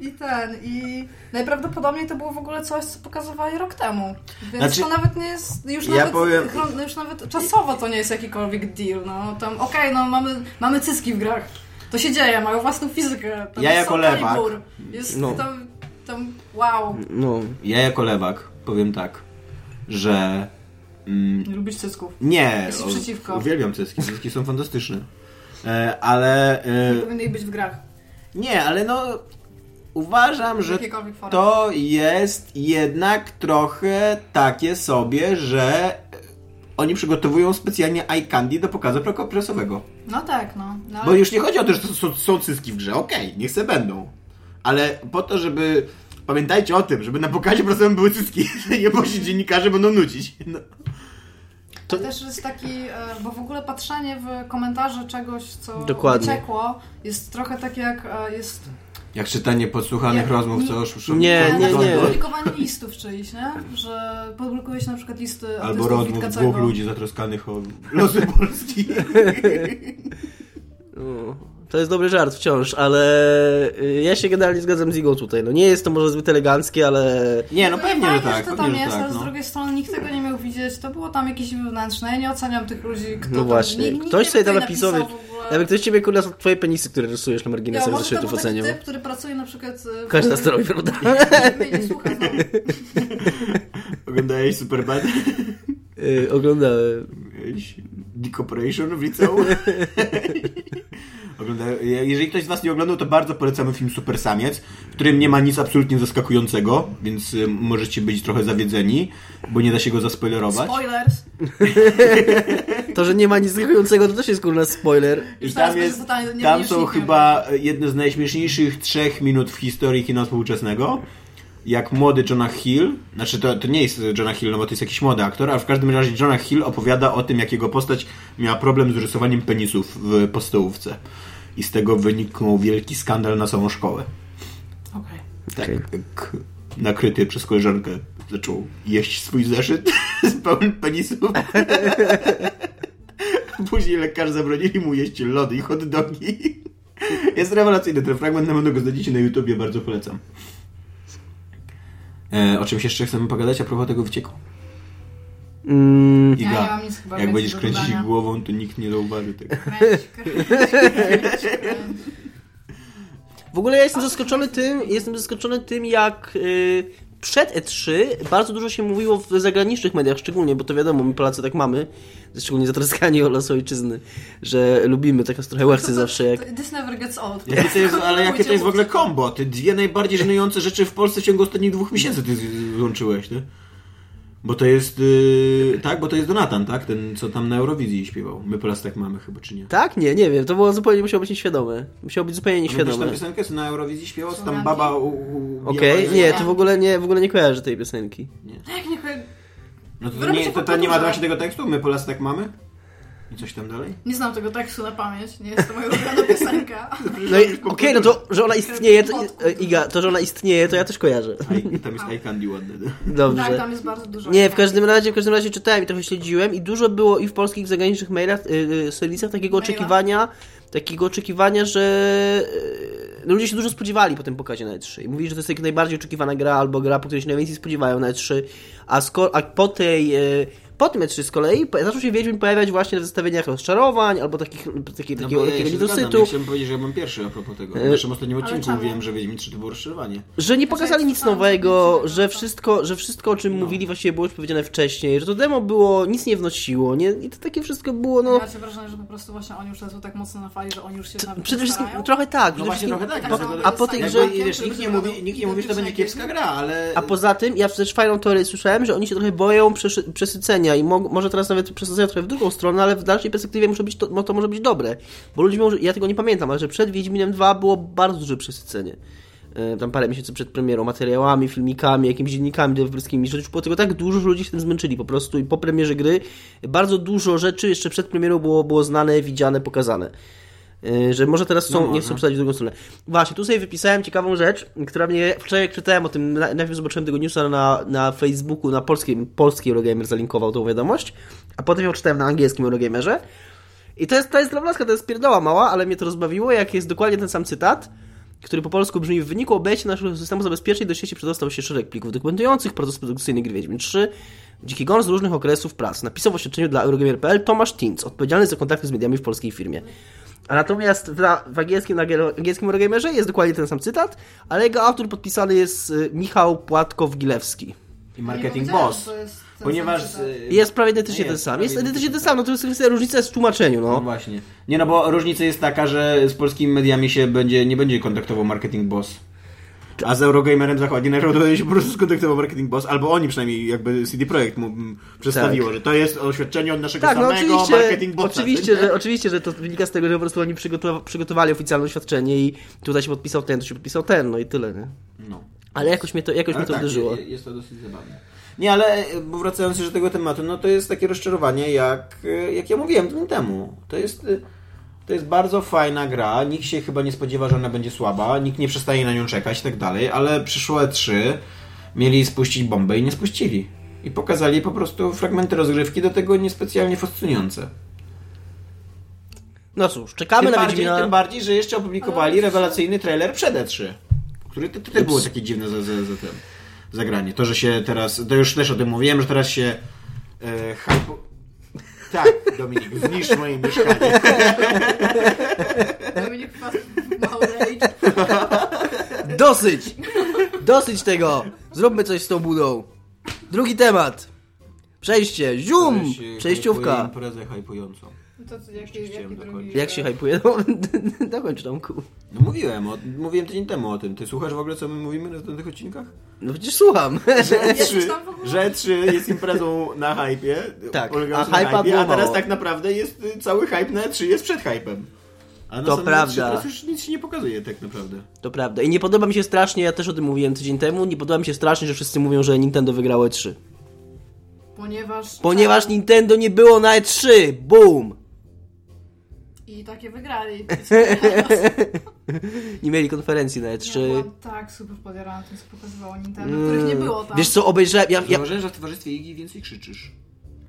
S4: I ten, i najprawdopodobniej to było w ogóle coś, co pokazywali rok temu. Więc
S3: Znaczy-
S4: to nawet nie jest, już
S3: Ja
S4: nawet,
S3: powiem-
S4: chron- już nawet czasowo to nie jest jakikolwiek deal, no tam okej, no mamy, mamy cyski w grach, to się dzieje, mają własną fizykę. Tam
S3: Ja
S4: jest
S3: jako
S4: Soul
S3: lewak. Hmm.
S4: Calibur, Jest
S2: No.
S4: tam, tam, wow.
S2: No.
S3: Ja jako lewak powiem tak, że... Mm,
S4: Nie lubisz cysków.
S3: nie.
S4: Jesteś
S3: o-
S4: przeciwko.
S3: Uwielbiam cyski. Cyski są fantastyczne. E, ale... E,
S4: Nie powinny być w grach.
S3: nie, ale no... Uważam, że
S4: Jakiekolwiek formy.
S3: to jest jednak trochę takie sobie, że oni przygotowują specjalnie eye candy do pokazu pro- prasowego.
S4: No tak, no. no
S3: Bo
S4: ale
S3: już nie chodzi o to, że to są, są cyski w grze, okej, niech se będą. Ale po to, żeby... Pamiętajcie o tym, żeby na pokazie prasowym były cyski, nie bo się dziennikarze będą nudzić. No.
S2: To-
S4: też jest taki, e, bo w ogóle patrzenie w komentarze czegoś, co
S2: Dokładnie.
S4: wyciekło, jest trochę tak jak e, jest
S3: Jak czytanie podsłuchanych
S4: Nie.
S3: rozmów, co już...
S2: Nie, nie, nie.
S4: Publikowanie listów czyjś, nie? Że publikuje się na przykład listy
S3: Albo
S4: artystów
S3: rozmów
S4: Witkacego.
S3: dwóch ludzi zatroskanych o losy Polski.
S2: No, To jest dobry żart wciąż, ale y, ja się generalnie zgadzam z Igą tutaj. No nie jest to może zbyt eleganckie, ale
S3: Nie, no
S4: No i
S3: pewnie,
S4: fajnie,
S3: że tak,
S4: to tam
S3: pewnie, że
S4: jest,
S3: tak.
S4: ale z
S3: No.
S4: drugiej strony nikt tego nie miał widzieć, to było tam jakieś wewnętrzne, ja nie oceniam tych ludzi, kto
S2: No
S4: tam-
S2: właśnie,
S4: nikt- nikt
S2: ktoś
S4: nie
S2: sobie
S4: wie,
S2: tam
S4: kto
S2: napisał,
S4: napisał w ogóle.
S2: Nawet ktoś ciebie kurwa są twoje penisy, które rysujesz na
S4: Ja,
S2: marginesach ja,
S4: może to był
S2: zeszytów
S4: taki
S2: oceniał.
S4: typ, który pracuje na przykład... e, w-
S2: Każda z robi, prawda?
S4: Nie, no. nie słucha znowu.
S3: Oglądałeś Superbad?
S2: Yy, oglądałem.
S3: Miałeś Decoperation w liceum? Ogląda- Jeżeli ktoś z Was nie oglądał, to bardzo polecamy film Super Samiec, w którym nie ma nic absolutnie zaskakującego, więc y, możecie być trochę zawiedzeni, bo nie da się go zaspoilerować.
S4: Spoilers.
S2: To, że nie ma nic zaskakującego, to też jest kurwa spoiler.
S3: I
S4: teraz
S3: tam,
S4: będzie
S3: jest,
S4: totalnie nie
S3: tam
S4: wiesz,
S3: są
S4: nie
S3: chyba jedne z najśmieszniejszych trzech minut w historii kina współczesnego. Jak młody Jonah Hill, znaczy to, to nie jest Jonah Hill, no bo to jest jakiś młody aktor, ale w każdym razie Jonah Hill opowiada o tym, jak jego postać miała problem z rysowaniem penisów w podstawówce. I z tego wyniknął wielki skandal na całą szkołę.
S4: Okej.
S3: Tak,
S2: Okej.
S3: k- nakryty przez koleżankę zaczął jeść swój zeszyt z pełnym penisów. Później lekarz zabronili mu jeść lody i hot dogi. Jest rewelacyjny ten fragment, na pewno go znajdziecie na YouTubie, bardzo polecam. E, o czymś jeszcze chcemy pogadać a propos tego wycieku?
S2: Mm,
S4: Ja nie mam nic chyba
S3: jak
S4: więcej
S3: będziesz
S4: do
S3: kręcić
S4: dodania.
S3: głową, to nikt nie zauważy tego.
S4: Kręć, kręć, kręć, kręć.
S2: w ogóle ja jestem zaskoczony tym, jestem zaskoczony tym, jak y, przed E3 bardzo dużo się mówiło w zagranicznych mediach, szczególnie, bo to wiadomo, my Polacy tak mamy, szczególnie zatroskani o los ojczyzny, że lubimy takie trochę łechcy zawsze jak...
S4: To- This never gets old.
S3: Jakie to jest, ale jakie to
S4: Kupujcie
S3: jest w ogóle
S4: łódź.
S3: kombo? Ty dwie najbardziej żenujące rzeczy w Polsce w ciągu ostatnich dwóch miesięcy ty z- złączyłeś, ty? Bo to jest, yy, tak? Bo to jest Donatan, tak? Ten, co tam na Eurowizji śpiewał. My po raz tak mamy chyba, czy nie?
S2: Tak? Nie, nie wiem, to było zupełnie, musiało być nieświadome. Musiało być zupełnie
S3: Pamiętasz
S2: nieświadome.
S3: tę piosenkę, co na Eurowizji śpiewał, co tam
S4: Słucham.
S3: baba u... u
S2: Okej,
S3: biała-
S2: nie, to w ogóle nie, w ogóle nie kojarzę tej piosenki.
S4: Jak nie kojarzę-
S3: No to,
S4: Wyrób
S3: nie,
S4: się
S3: to, to
S4: poprawę.
S3: nie ma właśnie tego tekstu? My po raz tak mamy? I coś tam dalej?
S4: Nie znam tego tekstu na pamięć, nie jest to moja ulubiona piosenka.
S2: No i okej, no to, że ona istnieje, to, e, Iga, to, że ona istnieje, to ja też kojarzę.
S3: I, tam jest I Candy ładny.
S4: Tak,
S2: Dobrze.
S4: tam jest bardzo dużo.
S2: Nie, w każdym razie, w każdym razie czytałem i trochę śledziłem i dużo było i w polskich, i w zagranicznych mailach, y, y, serwisach takiego
S4: Maila.
S2: oczekiwania, takiego oczekiwania, że y, no ludzie się dużo spodziewali po tym pokazie na E3. I mówili, że to jest jak najbardziej oczekiwana gra albo gra, po której się najwięcej spodziewają na E3, a, sko- a po tej... y, po tym E3 z kolei po- zaczął się Wiedźmin pojawiać właśnie w zestawieniach rozczarowań albo takich, takich,
S3: No
S2: takiego,
S3: bo ja się
S2: takiego
S3: zgadzam,
S2: niedosytu.
S3: ja chciałem powiedzieć, że ja byłem pierwszy a propos tego.
S2: E,
S3: W naszym ostatnim odcinku
S4: czemu?
S3: mówiłem, że Wiedźmin 3 to było rozczarowanie.
S2: Że nie
S4: Znaczy,
S2: pokazali
S4: ja
S2: nic
S4: słyszałam,
S2: nowego,
S4: że nic
S2: że
S4: nowego.
S2: wszystko, że wszystko o czym mówili właściwie było już powiedziane wcześniej, że to demo było, nic nie wnosiło, nie? I to takie wszystko było, no...
S4: Macie wrażenie, że po prostu właśnie oni już teraz są tak mocno na fali, że oni już się nawet
S2: Przede
S4: nie
S2: wszystkim,
S4: starają?
S2: trochę tak, przede
S3: No właśnie
S2: wszystkim...
S3: trochę tak.
S4: tak
S3: no
S4: samo
S3: to-
S4: jest
S2: a po tej
S4: Silent
S2: grze-
S4: Hillem,
S3: Jakby, wiesz, nikt nie
S4: który
S3: mówi,
S4: wyglądał
S3: nikt nie mówi, że to będzie
S4: identycznie jak
S3: kiepska gra, ale...
S2: A poza tym, ja też fajną teorię słyszałem, że oni się trochę boją przeszy- przesycenia zmienia i mo- może teraz nawet przesadzają trochę w drugą stronę, ale w dalszej perspektywie muszę być to, mo- to może być dobre. Bo ludzie mówią, że ja tego nie pamiętam, ale że przed Wiedźminem 2 było bardzo duże przesycenie. E, Tam parę miesięcy przed premierą, materiałami, filmikami, jakimiś dziennikami deweloperskimi, że już było tego tak dużo, że ludzie się tym zmęczyli po prostu i po premierze gry bardzo dużo rzeczy jeszcze przed premierą było, było znane, widziane, pokazane. Yy, że może teraz są, nie chcą przesadzić w drugą stronę. Właśnie, tu sobie wypisałem ciekawą rzecz, która mnie wczoraj jak czytałem o tym, na- najpierw zobaczyłem tego newsa na, na Facebooku, na polskim, polski Eurogamer zalinkował tą wiadomość, a potem ją czytałem na angielskim Eurogamerze. I to jest, to jest dla blaska, to jest pierdoła mała, ale mnie to rozbawiło, jak jest dokładnie ten sam cytat, który po polsku brzmi w wyniku obejścia naszego systemu zabezpieczeń do sieci przedostał się szereg plików dokumentujących proces produkcyjny gry Wiedźmin 3, Dziki Gon z różnych okresów prac. Napisał w oświadczeniu dla Eurogamer.pl Tomasz Tintz, odpowiedzialny za kontakty z mediami w polskiej firmie. A natomiast w, na- w angielskim, na gielo- angielskim Eurogamerze jest dokładnie ten sam cytat, ale jego autor podpisany jest y, Michał Płatkow-Gilewski.
S3: I marketing
S4: Nie powiedziałem,
S3: boss.
S4: to jest ten sam
S3: Ponieważ...
S4: cytat.
S3: y,
S2: I Jest prawie identycznie
S3: no
S2: ten sam. Jest
S3: prawie
S2: identycznie ten sam, no to jest jest różnica jest w tłumaczeniu,
S3: No
S2: no.
S3: właśnie. Nie no, bo różnica jest taka, że z polskimi mediami się będzie, nie będzie kontaktował marketing boss. A z Eurogamerem Zachodnie najprawdopodobniej się po prostu skontaktował marketing boss, albo oni przynajmniej jakby CD Projekt mu mm, przedstawiło, że to jest oświadczenie od naszego
S2: Tak, no
S3: samego
S2: oczywiście,
S3: marketing bossa. tak,
S2: oczywiście, że, oczywiście, że to wynika z tego, że po prostu oni przygotowa- przygotowali oficjalne oświadczenie i tutaj się podpisał ten, tu się podpisał ten, no i tyle, nie?
S3: No.
S2: Ale jakoś mnie to, jakoś
S3: Ale
S2: mnie to
S3: tak,
S2: uderzyło.
S3: je- Jest to dosyć zabawne. Nie, ale e, bo wracając jeszcze do tego tematu, no to jest takie rozczarowanie, jak, e, jak ja mówiłem dni temu. To jest, e, to jest bardzo fajna gra, nikt się chyba nie spodziewa, że ona będzie słaba, nikt nie przestaje na nią czekać i tak dalej, ale przyszłe trzy mieli spuścić bombę i nie spuścili. I pokazali po prostu fragmenty rozgrywki, do tego niespecjalnie fascynujące.
S2: No cóż, czekamy
S3: Tym
S2: na No.
S3: bardziej,
S2: Wiedźmina.
S3: tym bardziej, że jeszcze opublikowali
S4: Ale-
S3: rewelacyjny trailer przed E3, który to, to też było takie dziwne za, za, za ten, zagranie. To, że się teraz, to już też o tym mówiłem, że teraz się e, hypo... Tak, Dominik, zniszcz moje mieszkanie.
S2: tak.
S4: Dominik Fast mały rage.
S2: Dosyć! Dosyć tego! Zróbmy coś z tą budą. Drugi temat. Przejście. Zium! Przejściówka.
S3: Imprezę hypującą.
S4: No To co, jaki, jaki
S3: Chciałem
S4: drugi...
S3: dokończyć.
S2: Jak się hypuje? No, dokończ Tomku.
S3: No mówiłem, o, mówiłem tydzień temu o tym. Ty słuchasz w ogóle, co my mówimy na tych odcinkach?
S2: No przecież słucham.
S3: Że E3,
S4: Jesteś tam w ogóle?
S3: że E3 jest imprezą na hypie,
S2: Tak, a
S3: polegającą na
S2: hype'a
S3: hypie, a
S2: było
S3: teraz
S2: mało.
S3: tak naprawdę jest y, cały hype na E3 jest przed hypem. A na
S2: To
S3: samym
S2: prawda.
S3: E3 Teraz już nic się nie pokazuje tak naprawdę.
S2: To prawda. I nie podoba mi się strasznie, ja też o tym mówiłem tydzień temu, nie podoba mi się strasznie, że wszyscy mówią, że Nintendo wygrało E E3.
S4: Ponieważ...
S2: Ponieważ Nintendo nie było na E3! Boom!
S4: I takie wygrali.
S2: Nie mieli konferencji na E E3.
S4: Ja byłam tak super podjarana tym, co pokazywało Nintendo, których nie było tam.
S2: Mm, Wiesz co, obejrzałem... Ja, ja...
S3: Zauważyłem, że w towarzystwie Igi więcej krzyczysz.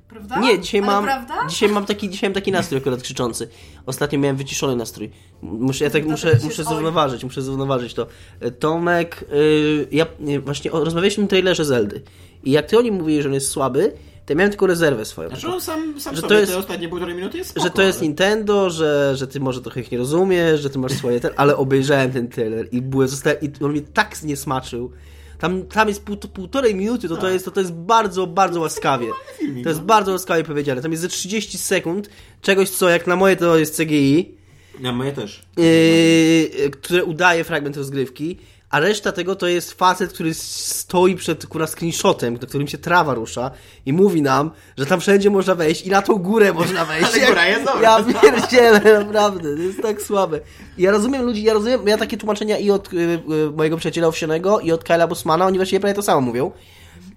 S4: Prawda?
S2: Nie, dzisiaj
S4: Tak? Ale
S2: mam,
S4: prawda?
S2: dzisiaj mam taki, dzisiaj mam taki nastrój akurat krzyczący. Ostatnio miałem wyciszony nastrój. Muszę, ja tak
S4: Dlatego
S2: muszę,
S4: No się
S2: muszę
S4: oj.
S2: zrównoważyć, muszę zrównoważyć to. E, Tomek, y, ja y, właśnie o, rozmawialiśmy o trailerze Zeldy i jak ty o nim mówiłeś, że on jest słaby, to ja miałem tylko rezerwę swoją.
S3: Znaczy on sam, sam
S2: Że
S3: sobie
S2: to jest-
S3: te ostatnie półtorej minuty jest spoko,
S2: że to jest
S3: ale...
S2: Nintendo, że, że ty może trochę ich nie rozumiesz, że ty masz swoje ten, ale obejrzałem ten trailer i byłem zosta- i on mnie tak zniesmaczył. Tam, tam jest pół, półtorej minuty, to, to, jest, to, to jest bardzo, bardzo łaskawie.
S3: filmik,
S2: To jest
S3: no.
S2: bardzo łaskawie powiedziane. Tam jest ze 30 sekund czegoś, co jak na moje to jest CGI,
S3: Ja moje też.
S2: yy, yy, które udaje fragment rozgrywki, a reszta tego to jest facet, który stoi przed kurwa screenshotem, na którym się trawa rusza i mówi nam, że tam wszędzie można wejść i na tą górę można wejść.
S3: Ale góra jest dobra.
S2: Ja pierdzielę, naprawdę, to jest tak słabe. Ja rozumiem ludzi, ja rozumiem, ja takie tłumaczenia i od y, y, mojego przyjaciela owsianego i od Kyla Bosmana, oni właśnie prawie to samo mówią.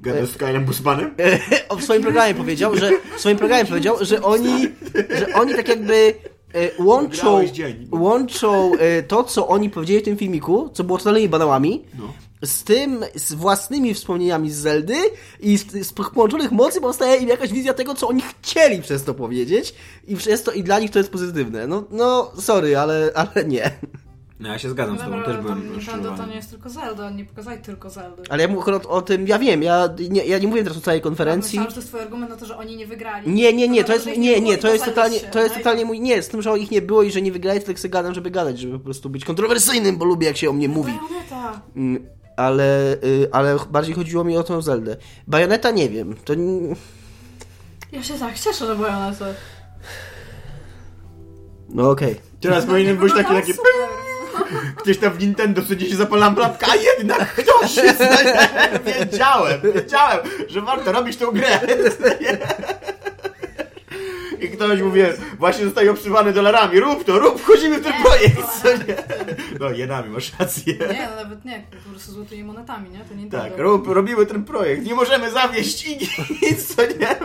S3: Gadasz z Kylem Busmanem?
S2: O, w swoim programie powiedział, że w swoim programie powiedział, że oni, że oni tak jakby e, łączą,
S3: Wygrałeś dzień.
S2: łączą e, to, co oni powiedzieli w tym filmiku, co było totalnymi banałami,
S3: No.
S2: z tym, z własnymi wspomnieniami z Zeldy i z, z połączonych mocy powstaje im jakaś wizja tego, co oni chcieli przez to powiedzieć i przez to i dla nich to jest pozytywne. No, no sorry, ale, ale nie.
S3: No ja się zgadzam z
S4: Dobra,
S3: tobą,
S4: ale
S3: też
S4: to
S3: byłem
S4: Nintendo to nie
S3: rozczarowany.
S4: jest tylko Zelda, nie pokazali tylko Zeldy.
S2: Ale ja mówię akurat o tym, ja wiem, ja nie, ja nie mówię teraz o całej konferencji.
S4: Myślałam, że to jest twój argument na to, że oni nie wygrali.
S2: Nie, nie, nie,
S4: Dlatego,
S2: to jest,
S4: że ich
S2: nie,
S4: było
S2: nie,
S4: i
S2: to jest
S4: pokazali
S2: totalnie,
S4: się.
S2: to jest
S4: No i-
S2: totalnie mój, nie, z tym, że ich nie było i że nie wygrali, to tak sobie gadam, żeby gadać, żeby po prostu być kontrowersyjnym, bo lubię jak się o mnie mówi.
S4: Bajoneta.
S2: Mm, Ale, y, ale bardziej chodziło mi o tą Zeldę. Bajoneta nie wiem, to n-
S4: Ja się tak cieszę, że bajoneta.
S2: no okej.
S3: Teraz powinien
S4: No
S3: być taki, taki... Gdzieś tam w Nintendo codziennie się zapala lampka, a jednak ktoś się znajdzie. Wiedziałem, wiedziałem, że warto robić tą grę. jak ktoś mówi, właśnie zostaje obsywany dolarami, rób to, rób, wchodzimy w ten
S4: Nie,
S3: projekt, co nie? No, jenami, masz rację.
S4: Nie, no nawet nie, po prostu złotymi monetami, nie? To nie
S3: Tak, rób, robimy ten projekt, nie możemy zawieść i nic, co nie?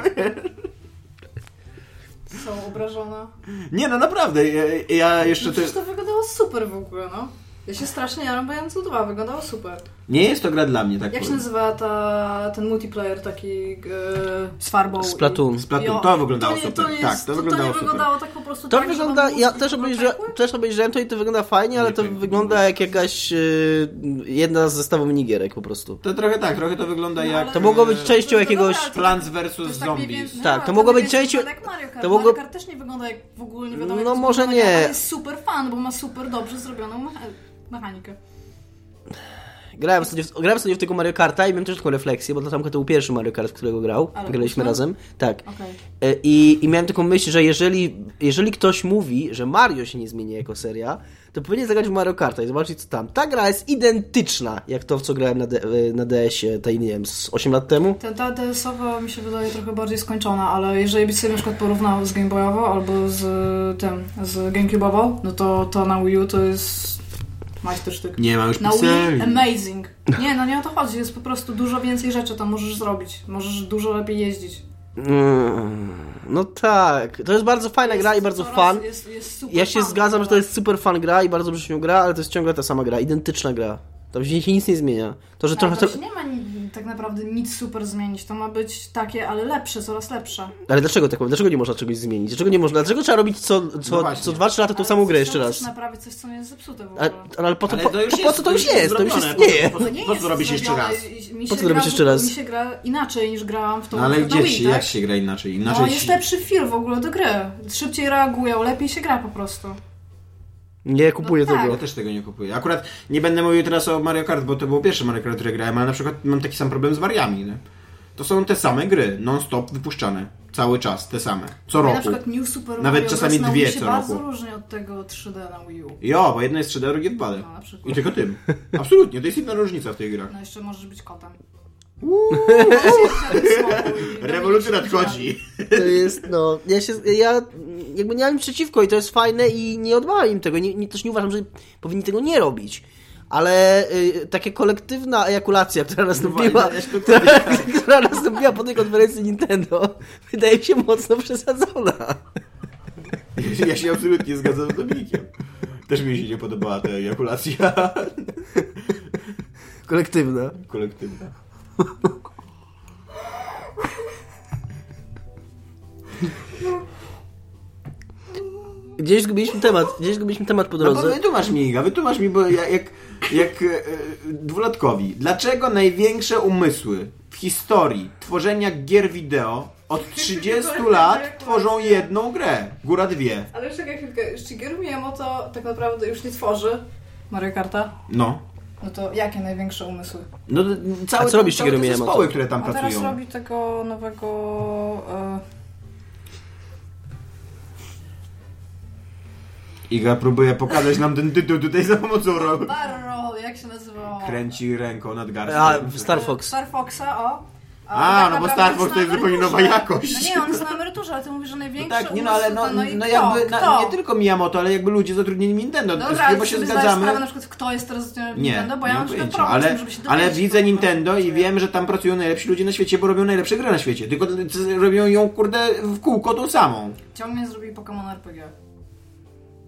S4: Są obrażona.
S3: Nie, no naprawdę, ja, ja jeszcze...
S4: No
S3: Te...
S4: przecież to wyglądało super w ogóle, no. Ja się strasznie jaram, bo Jancu 2 wyglądało super.
S3: Nie jest to gra dla mnie, tak
S4: Jak się
S3: powiem.
S4: nazywa ta, ten multiplayer taki e, z farbą?
S2: Splatoon.
S4: i-
S3: Splatoon,
S4: i o-
S3: to wyglądało
S4: nie-
S3: super.
S4: nie
S3: Tak,
S4: jest-
S3: to wyglądało
S4: To nie
S3: super.
S4: wyglądało tak po prostu
S2: To
S4: tak, że
S2: wygląda,
S4: mam
S2: ja
S4: mózg
S2: też
S4: tylko
S2: obejrzałem,
S4: czekły.
S2: też obejrzałem to i to wygląda fajnie, ale
S3: Nie,
S2: to
S3: tak.
S2: wygląda jak jakaś y, jedna z zestawów minigierek po prostu.
S3: To trochę tak, trochę to wygląda
S4: No,
S3: jak...
S4: ale-
S2: To mogło być
S3: e,
S2: częścią
S4: No
S2: jakiegoś
S4: dobra, ale to-
S3: Plants
S4: to
S3: vs.
S4: jest tak mniej
S3: Zombies.
S4: więcej-
S2: Tak,
S4: no,
S2: to mogło być
S4: jest
S2: częścią-
S4: wygląda Jak Mario Kart.
S2: to
S4: To
S2: mogło-
S4: Mario Kart też nie wygląda jak w ogóle nie wiadomo. jak
S2: No,
S4: to
S2: może
S4: wygląda,
S2: nie.
S4: Ale jest super fan, bo ma super dobrze zrobioną mecha- mechanikę.
S2: Grałem sobie, w, grałem sobie w tego Mario Karta i miałem też taką refleksję, bo to tam to był pierwszy Mario Kart, w którego grał.
S4: Ale
S2: Graliśmy
S4: ósmy?
S2: razem. Tak.
S4: Okej.
S2: E, I, I miałem taką myśl, że jeżeli, jeżeli ktoś mówi, że Mario się nie zmieni jako seria, to powinien zagrać w Mario Karta i zobaczyć co tam. Ta gra jest identyczna jak to, w co grałem na, D, e, na DS-ie, tej, nie wiem, z 8 lat temu.
S4: Ten Ta DS-owa mi się wydaje trochę bardziej skończona, ale jeżeli byś sobie na przykład porównał z Game Boyową albo z y, tym, z GameCube'ową, no to to na Wii U to jest majstersztyk.
S3: Nie ma już
S4: Na Wii
S3: pikseli.
S4: amazing. Nie, no nie o to chodzi, jest po prostu dużo więcej rzeczy tam możesz zrobić. Możesz dużo lepiej jeździć.
S2: Mm, no tak. To jest bardzo fajna gra i
S4: Jest
S2: bardzo
S4: coraz-
S2: fan.
S4: Jest, jest super
S2: Ja się
S4: fan,
S2: zgadzam, że to
S4: naprawdę.
S2: jest super fan gra i bardzo dobrze się nią gra, ale to jest ciągle ta sama gra, identyczna gra. Tam się, się nic nie zmienia. To, że
S4: Ale
S2: trochę...
S4: Tak, to się nie ma ni- tak naprawdę nic super zmienić. To ma być takie, ale lepsze, coraz lepsze.
S2: Ale dlaczego tak? Dlaczego nie można czegoś zmienić? Dlaczego nie można? Dlaczego trzeba robić co, co,
S3: właśnie.
S2: co 2-3 lata tą
S4: Ale
S2: samą grę
S4: chcesz-
S2: jeszcze raz?
S4: chcesz naprawić coś, co jest zepsute w ogóle.
S2: Ale, ale po, to,
S3: Ale
S2: po,
S3: to już
S2: po,
S3: jest-
S2: co to już jest? To już
S3: zrobione.
S2: istnieje.
S3: Po co-
S4: No nie
S3: po co
S4: jest
S3: robić jeszcze
S4: zrobione
S3: raz?
S4: i- Mi
S2: Po
S4: się
S2: co robić
S4: gra-
S2: jeszcze raz?
S4: Mi się gra inaczej niż grałam w tą
S3: No ale
S4: grę na
S3: gdzie
S4: Wii,
S3: się,
S4: tak?
S3: jak się gra inaczej? Inaczej
S4: No
S3: się-
S4: jest lepszy feel w ogóle do gry. Szybciej reagują, lepiej się gra po prostu.
S2: Nie kupuję
S4: No tak.
S2: tego.
S3: Ja też tego nie kupuję. Akurat nie będę mówił teraz o Mario Kart, bo to było pierwsze Mario Kart, które grałem, ale na przykład mam taki sam problem z wariami. Nie? To są te same gry, non-stop wypuszczane. Cały czas, te same. Co
S4: Ja na
S3: roku.
S4: przykład New Super
S3: Nawet
S4: Mario
S3: czasami
S4: Bros. na
S3: dwie
S4: Wii się
S3: co
S4: bardzo
S3: roku.
S4: różni od tego 3D na Wii U.
S3: Jo, bo jedno jest 3D, a drugie 2D.
S4: No, na przykład.
S3: I tylko tym. Absolutnie, to jest jedna różnica w tych grach.
S4: No jeszcze możesz być kotem.
S3: Rewolucja nadchodzi.
S2: To jest, no, ja się, ja jakby nie mam nic przeciwko i to jest fajne i nie odmawiam im tego, nie, nie, też nie uważam, że powinni tego nie robić. Ale y, taka kolektywna ejakulacja, która nastąpiła,
S3: właśnie, też
S2: która, która nastąpiła po tej konferencji Nintendo, wydaje mi się mocno przesadzona.
S3: Ja się- Ja się absolutnie zgadzam z Dominikiem. Też mi się nie podobała ta ejakulacja
S2: Kolektywna.
S3: kolektywna.
S2: Gdzieś zgubiliśmy temat, gdzieś zgubiliśmy temat po
S3: No bo
S2: drodze.
S3: wytłumacz mi, Iga, wytłumacz mi, bo ja, jak, jak e, e, dwulatkowi, dlaczego największe umysły w historii tworzenia gier wideo od 30 lat tworzą jedną grę? Góra dwie.
S4: Ale jeszcze chwilkę, Shigeru Miyamoto tak naprawdę już nie tworzy Mario Karta.
S3: No.
S4: No to jakie największe umysły?
S3: No, całe,
S2: A co robi Shigeru
S3: całe te
S2: Miyamoto?
S3: zespoły, które tam
S4: A teraz
S3: pracują.
S4: robi tego nowego... E,
S3: Iga próbuje pokazać nam ten tytuł tutaj za pomocą rogu.
S4: Barrel, jak się nazywało?
S3: Kręci ręką nad Tak, no
S2: A,
S3: garstką.
S2: Star Fox.
S4: Star Foxa, o.
S3: A,
S4: tak
S3: no bo
S4: naprawdę
S3: Star Fox to jest
S4: na
S3: zupełnie nowa
S4: emeryturze.
S3: jakość.
S4: No nie, on jest na emeryturze, ale ty mówisz, że największy
S3: No tak, nie no,
S4: umysł
S3: ale
S4: to
S3: no,
S4: no i
S3: no
S4: kto,
S3: jakby
S4: kto?
S3: na, nie tylko Miyamoto, ale jakby ludzie zatrudnieni Nintendo.
S4: Dobra, ale
S3: chyba
S4: czy
S3: się
S4: ty zdajesz
S3: zgadzamy.
S4: sprawę na przykład, kto jest teraz nie,
S3: Nie,
S4: Nintendo? Bo
S3: nie
S4: ja
S3: mam
S4: mam przykład
S3: pojęcia,
S4: problem z
S3: ale,
S4: tym, żeby się
S3: ale
S4: dowiedzieć,
S3: widzę
S4: kto-
S3: Nintendo i
S4: kto-
S3: wiem, że tam pracują najlepsi ludzie na świecie, bo robią najlepsze gry na świecie. Tylko c- robią ją, kurde, w kółko tą samą.
S4: Ciągle zrobili Pokémon RPG.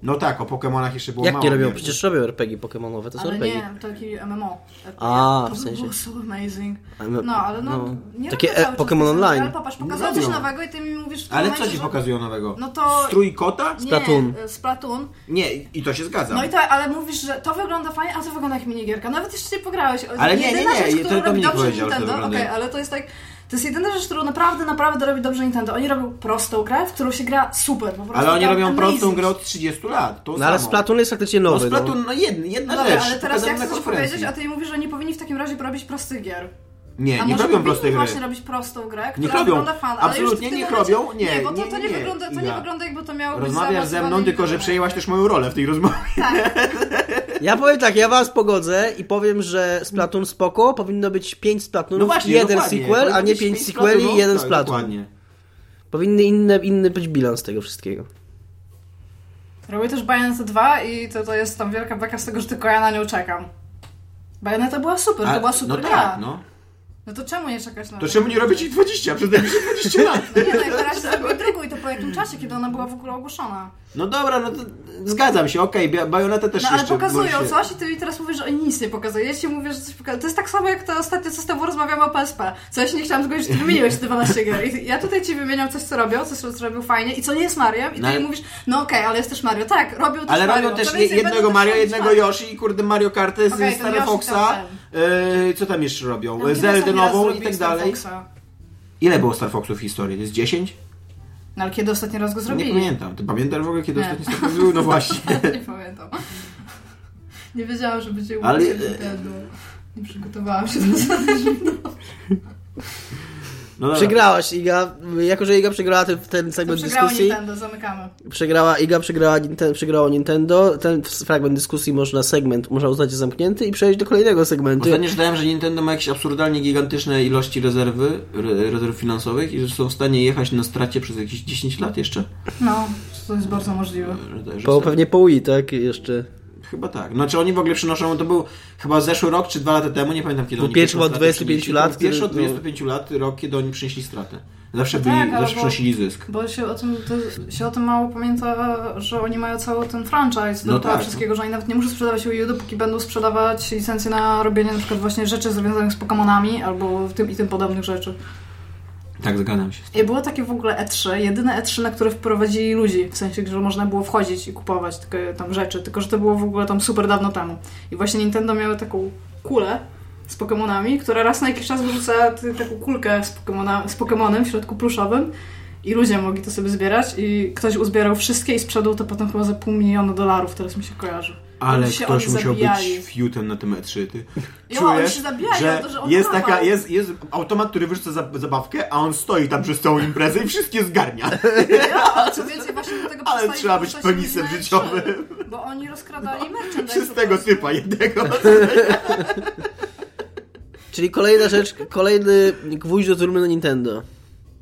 S3: No tak, o Pokemonach jeszcze było
S2: Jak
S3: mało.
S2: nie robią?
S3: gier.
S2: Przecież robią RPG Pokemonowe, to są
S4: Ale
S2: RPG.
S4: nie, taki MMO.
S2: A,
S4: to
S2: w
S4: by
S2: sensie.
S4: było so amazing.
S2: Ale no-
S4: No, ale no,
S2: no.
S4: nie
S2: Takie
S4: robię
S2: e-
S4: cały czas
S2: Pokémon
S4: tych samych,
S2: online.
S4: Ale popatrz, pokazują
S3: Nie
S4: coś
S3: robią.
S4: nowego i ty mi mówisz w tym
S3: No. Ale co
S4: momencie,
S3: ci
S4: że-
S3: pokazują nowego?
S4: No to-
S3: Strój kota?
S2: Splatoon.
S4: Nie, e, Splatoon.
S3: Nie, i to się zgadza.
S4: No i tak, ale mówisz, że to wygląda fajnie, a to wygląda jak minigierka. Nawet jeszcze nie pograłeś. O,
S3: Ale nie,
S4: jedyna
S3: nie, nie,
S4: rzecz,
S3: to
S4: którą robi
S3: Dominik
S4: dobrze
S3: powiedział, że to
S4: Nintendo,
S3: wygląda
S4: okej,
S3: jak-
S4: ale to jest tak... To jest jedyna rzecz, którą naprawdę, naprawdę robi dobrze Nintendo. Oni robią prostą grę, w którą się gra super, po prostu
S3: Ale oni
S4: tam
S3: robią
S4: amazing.
S3: prostą grę od 30 lat. Tą
S2: No ale
S3: samą.
S2: Splatoon jest faktycznie
S3: No
S2: nowy. no.
S3: Splatoon, no jedna, jedna
S4: No dobra,
S3: rzecz.
S4: ale teraz
S3: pokazana
S4: jak
S3: na
S4: chcesz
S3: konferencji.
S4: powiedzieć, a ty mówisz, że nie powinni w takim razie robić prostych gier.
S3: Nie,
S4: A
S3: nie robią
S4: może powinni
S3: prostej gry.
S4: właśnie robić prostą grę, która
S3: Niech robią.
S4: wygląda fan. ale już w
S3: Absolutnie
S4: tym
S3: niech
S4: momencie-
S3: robią. Nie,
S4: nie, bo to,
S3: nie,
S4: to nie,
S3: nie,
S4: wygląda, to nie
S3: Iga.
S4: wygląda jakby to miało
S3: Rozmawiasz
S4: być tak
S3: ze mną, tylko że przejęłaś też moją rolę w tej rozmowie.
S2: Ja powiem tak, ja was pogodzę i powiem, że Splatoon spoko, powinno być 5 Splatunów,
S3: No właśnie,
S2: jeden
S3: dokładnie.
S2: sequel, a
S3: Powinno
S2: nie
S3: być
S2: 5
S3: pięć
S2: sequeli i
S3: Splatunów,
S2: jeden
S3: tak,
S2: Splatoon.
S3: Dokładnie.
S2: Powinny inne, inny być bilans tego wszystkiego.
S4: Robię też Bayonetta 2 i to, to jest tam wielka beka z tego, że tylko ja na nią czekam. Bayonetta była super,
S3: A,
S4: to była super
S3: no
S4: gra.
S3: tak, no.
S4: No to czemu nie czekać na
S3: To
S4: nią?
S3: czemu nie robić ich 20, przez najbliższe 20 lat?
S4: No nie, no jak teraz zrobię drugą i to po jakim czasie, kiedy ona była w ogóle ogłoszona.
S3: No dobra, no to zgadzam się, okej, okay, Bajoneta też
S4: No ale
S3: jeszcze...
S4: pokazują
S3: może się-
S4: coś i ty mi teraz mówisz, że oni nic nie pokazują. Ja ci mówię, że coś pokazują. To jest tak samo jak to ostatnio, co z tobą rozmawiamy o PSP. Co ja się nie chciałam zgodzić, że ty wymieniłeś 12 gier. I ja tutaj ci wymieniam coś, co robią, coś, co zrobił fajnie i co nie jest Mario. I ty
S3: No ale-
S4: mi mówisz, no okej, ale jest też Mario. Tak, robią też
S3: Ale
S4: Mario.
S3: robią
S4: To
S3: też nie,
S4: więcej
S3: jednego
S4: będą
S3: Mario,
S4: też robić
S3: jednego
S4: Mario.
S3: Yoshi, kurde Mario Kartę z
S4: Okej,
S3: okay,
S4: ten
S3: Stary
S4: Yoshi
S3: Foxa.
S4: tam
S3: Yy, co tam jeszcze robią?
S4: No, Ja mówię,
S3: Zeldę
S4: ostatni raz
S3: nową i
S4: zrobili
S3: tak
S4: Star
S3: dalej.
S4: Foxa.
S3: Ile było Star Foxów w historii? To jest 10?
S4: No ale kiedy ostatni raz go
S3: Nie
S4: zrobili?
S3: pamiętam. Ty pamiętasz w ogóle, kiedy
S4: Nie.
S3: ostatni Star Fox był? No właśnie.
S4: nie pamiętam. Nie wiedziałam, że będzie
S3: Ale- e,
S4: ale... Nie przygotowałam się do
S3: No dobra.
S2: Przegrałaś Iga. Jako, że Iga przegrała ten, ten
S4: tego.
S2: segment
S4: Przegrało
S2: dyskusji,
S4: Nintendo, zamykamy.
S2: przegrała Iga, przegrała, Ninte- przegrało Nintendo. Ten fragment dyskusji można segment, można uznać za zamknięty i przejść do kolejnego segmentu.
S3: Ostatnio czytałem, że Nintendo ma jakieś absurdalnie gigantyczne ilości rezerwy, re, rezerw finansowych i że są w stanie jechać na stracie przez jakieś 10 lat jeszcze.
S4: No, to jest bardzo możliwe.
S3: Że, że
S2: Po,
S3: są-
S2: pewnie po Wii, tak? Jeszcze.
S3: Chyba tak. Znaczy oni w ogóle przynoszą, to był chyba zeszły rok czy dwa lata temu, nie pamiętam kiedy
S2: Był
S3: oni
S2: pierwszy
S3: pierwszy
S2: od
S3: lat
S2: 25
S3: przynieśli.
S2: lat,
S3: To był Pierwszy od
S2: który-
S3: 25 lat rok, kiedy oni przynieśli stratę. Zawsze,
S4: No
S3: byli,
S4: tak, ale
S3: zawsze
S4: bo-
S3: przynosili zysk.
S4: Bo się o, tym, to, się o tym mało pamięta, że oni mają cały ten franchise
S3: No
S4: no
S3: tak.
S4: wszystkiego, że oni nawet nie muszą sprzedawać Wii U, dopóki będą sprzedawać licencje na robienie na przykład właśnie rzeczy związanych z Pokemonami albo tym i tym podobnych rzeczy.
S3: Tak, zgadzam się.
S4: I było takie w ogóle E3, jedyne E3, na które wprowadzili ludzi, w sensie, że można było wchodzić i kupować takie tam rzeczy, tylko że to było w ogóle tam super dawno temu. I właśnie Nintendo miało taką kulę z Pokemonami, która raz na jakiś czas wyrzuca t- taką kulkę z, Pokemona, z Pokemonem w środku pluszowym i ludzie mogli to sobie zbierać i ktoś uzbierał wszystkie i sprzedał to potem chyba za pół miliona dolarów, teraz mi się kojarzy.
S3: Ale
S4: Oni się
S3: ktoś
S4: oni
S3: musiał
S4: zabijali.
S3: być fiutem na tym E3, ty.
S4: Ja, oni się zabijają, to, że on
S3: jest
S4: dawał.
S3: taka, jest, jest automat, który wyrzuca za, zabawkę, a on stoi tam przez całą imprezę i wszystkie zgarnia.
S4: Tak, Ja, co więcej, właśnie do tego
S3: Ale
S4: przestali
S3: trzeba być
S4: wpuszczać
S3: penisem
S4: inne
S3: życiowym. No,
S4: rzeczy, Bo oni rozkradali merchandise.
S3: Przez
S4: po
S3: tego
S4: prostu.
S3: typa jednego.
S2: Czyli kolejna rzecz, kolejny gwóźdź do trumny na Nintendo.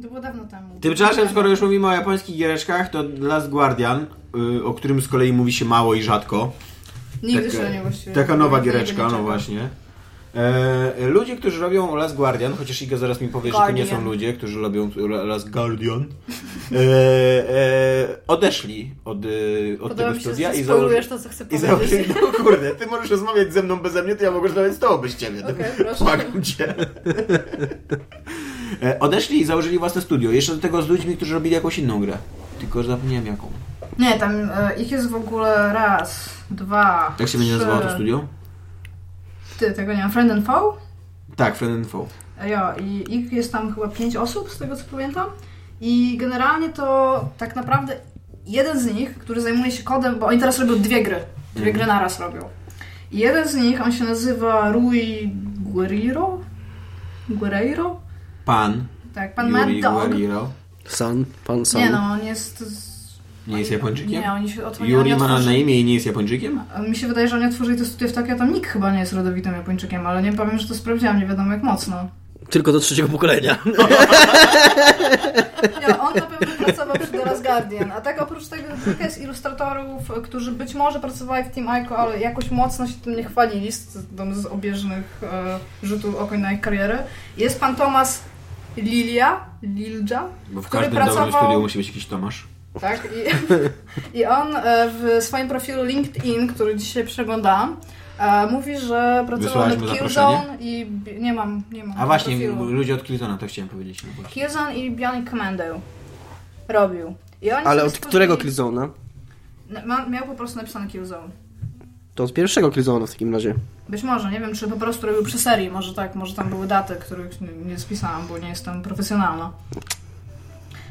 S4: To było dawno temu.
S3: Tymczasem, skoro już mówimy o japońskich giereczkach, to Last Guardian, y, o którym z kolei mówi się mało i rzadko.
S4: Nigdy
S3: Taka-
S4: się nie właściwie.
S3: Taka nowa
S4: Nigdy
S3: giereczka,
S4: nie
S3: no
S4: czekam.
S3: właśnie. E, ludzie, którzy robią Last Guardian, chociaż Iga zaraz mi powie, że to nie
S4: Guardian.
S3: są ludzie, którzy robią Last Guardian, e, e, odeszli od, e, od
S4: Podoba
S3: tego
S4: mi się,
S3: studia
S4: że
S3: i
S4: spoilujesz
S3: założyli...
S4: to, co chcę
S3: I
S4: powiedzieć.
S3: założyli, no kurde, ty możesz rozmawiać ze mną beze mnie, to ja mogę rozmawiać z tobą bez ciebie.
S4: Okej,
S3: To-
S4: proszę.
S3: Błagam cię. E, Odeszli i założyli własne studio. Jeszcze do tego z ludźmi, którzy robili jakąś inną grę. Tylko zapomniałem jaką.
S4: Nie, tam e, ich jest w ogóle raz, dwa.
S3: Jak się będzie
S4: trzy.
S3: nazywało to studio?
S4: Ty, tego nie mam. Friend and Foe?
S3: Tak, Friend and Foe.
S4: E, Jo, i ich jest tam chyba pięć osób, z tego co pamiętam. I generalnie to tak naprawdę jeden z nich, który zajmuje się kodem, bo oni teraz robią dwie gry. Dwie
S3: Mhm.
S4: gry naraz robią. I jeden z nich, on się nazywa Rui Guerrero? Guerrero?
S3: Pan.
S4: Tak, pan Mad
S3: Yuri
S4: Dog.
S3: Guerrero.
S2: San, pan San.
S4: Nie no, on jest... Z...
S3: Nie jest Japończykiem?
S4: Nie, oni się od
S3: Yuri ma na
S4: otworzyli.
S3: imię i nie jest Japończykiem?
S4: Mi się wydaje, że oni otworzyli to studio w Tokio, tam nikt chyba nie jest rodowitym Japończykiem, ale nie powiem, że to sprawdziłam, nie wiadomo jak mocno.
S2: Tylko do trzeciego pokolenia.
S4: Ja, on na pewno pracował przy The Last Guardian, a tak oprócz tego kilka jest ilustratorów, którzy być może pracowali w Team Ico, ale jakoś mocno się tym nie chwalili z, z obieżnych e, rzutów okoń na ich karierę. Jest pan Tomas Lilia, Lilja,
S3: Bo w
S4: który
S3: każdym dobrym
S4: pracował...
S3: studiu musi być jakiś Tomasz.
S4: Tak? I, I on e, w swoim profilu LinkedIn, który dzisiaj przeglądałam, e, mówi, że pracował
S3: Wysłałaś
S4: nad
S3: mu
S4: Killzone
S3: zaproszenie?
S4: i... bi- Nie mam, nie mam.
S3: A właśnie,
S4: profilu.
S3: ludzie od Clintona, to chciałem powiedzieć. No właśnie.
S4: Killzone i Bionic Commando robił. I oni
S2: Ale
S4: sobie
S2: od
S4: stworzyli-
S2: którego Killzone'a?
S4: Na- ma- Miał po prostu napisane Killzone.
S2: To z pierwszego Killzone'a w takim razie.
S4: Być może, nie wiem, czy po prostu robił przy serii, może tak, może tam były daty, których nie- nie spisałam, bo nie jestem profesjonalna.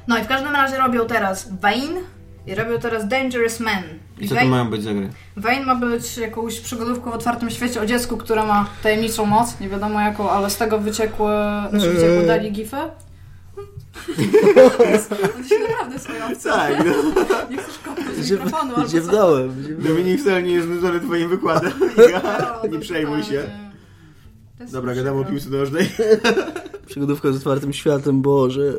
S4: No i w każdym razie robią teraz Vane i robią teraz Dangerous Man.
S3: I co to
S4: Vane-
S3: mają być za gry?
S4: Wayne ma być jakąś przygodówką w otwartym świecie o dziecku, które ma tajemniczą moc, nie wiadomo jaką, ale z tego wyciekły, znaczy wyciekły dali gify. On No się naprawdę smojący.
S3: Tak,
S4: Nie chcesz kopnąć mikrofonu albo
S2: Gdzie
S4: co?
S2: wdałem? gdzie-
S3: Dominik wcale nie jest znudzony twoim wykładem.
S4: O,
S3: nie przejmuj się.
S4: No, totalnie. To jest
S3: Dobra,
S4: przykro.
S3: gadamy o piłce nożnej.
S2: Przygodówka z otwartym światem, Boże.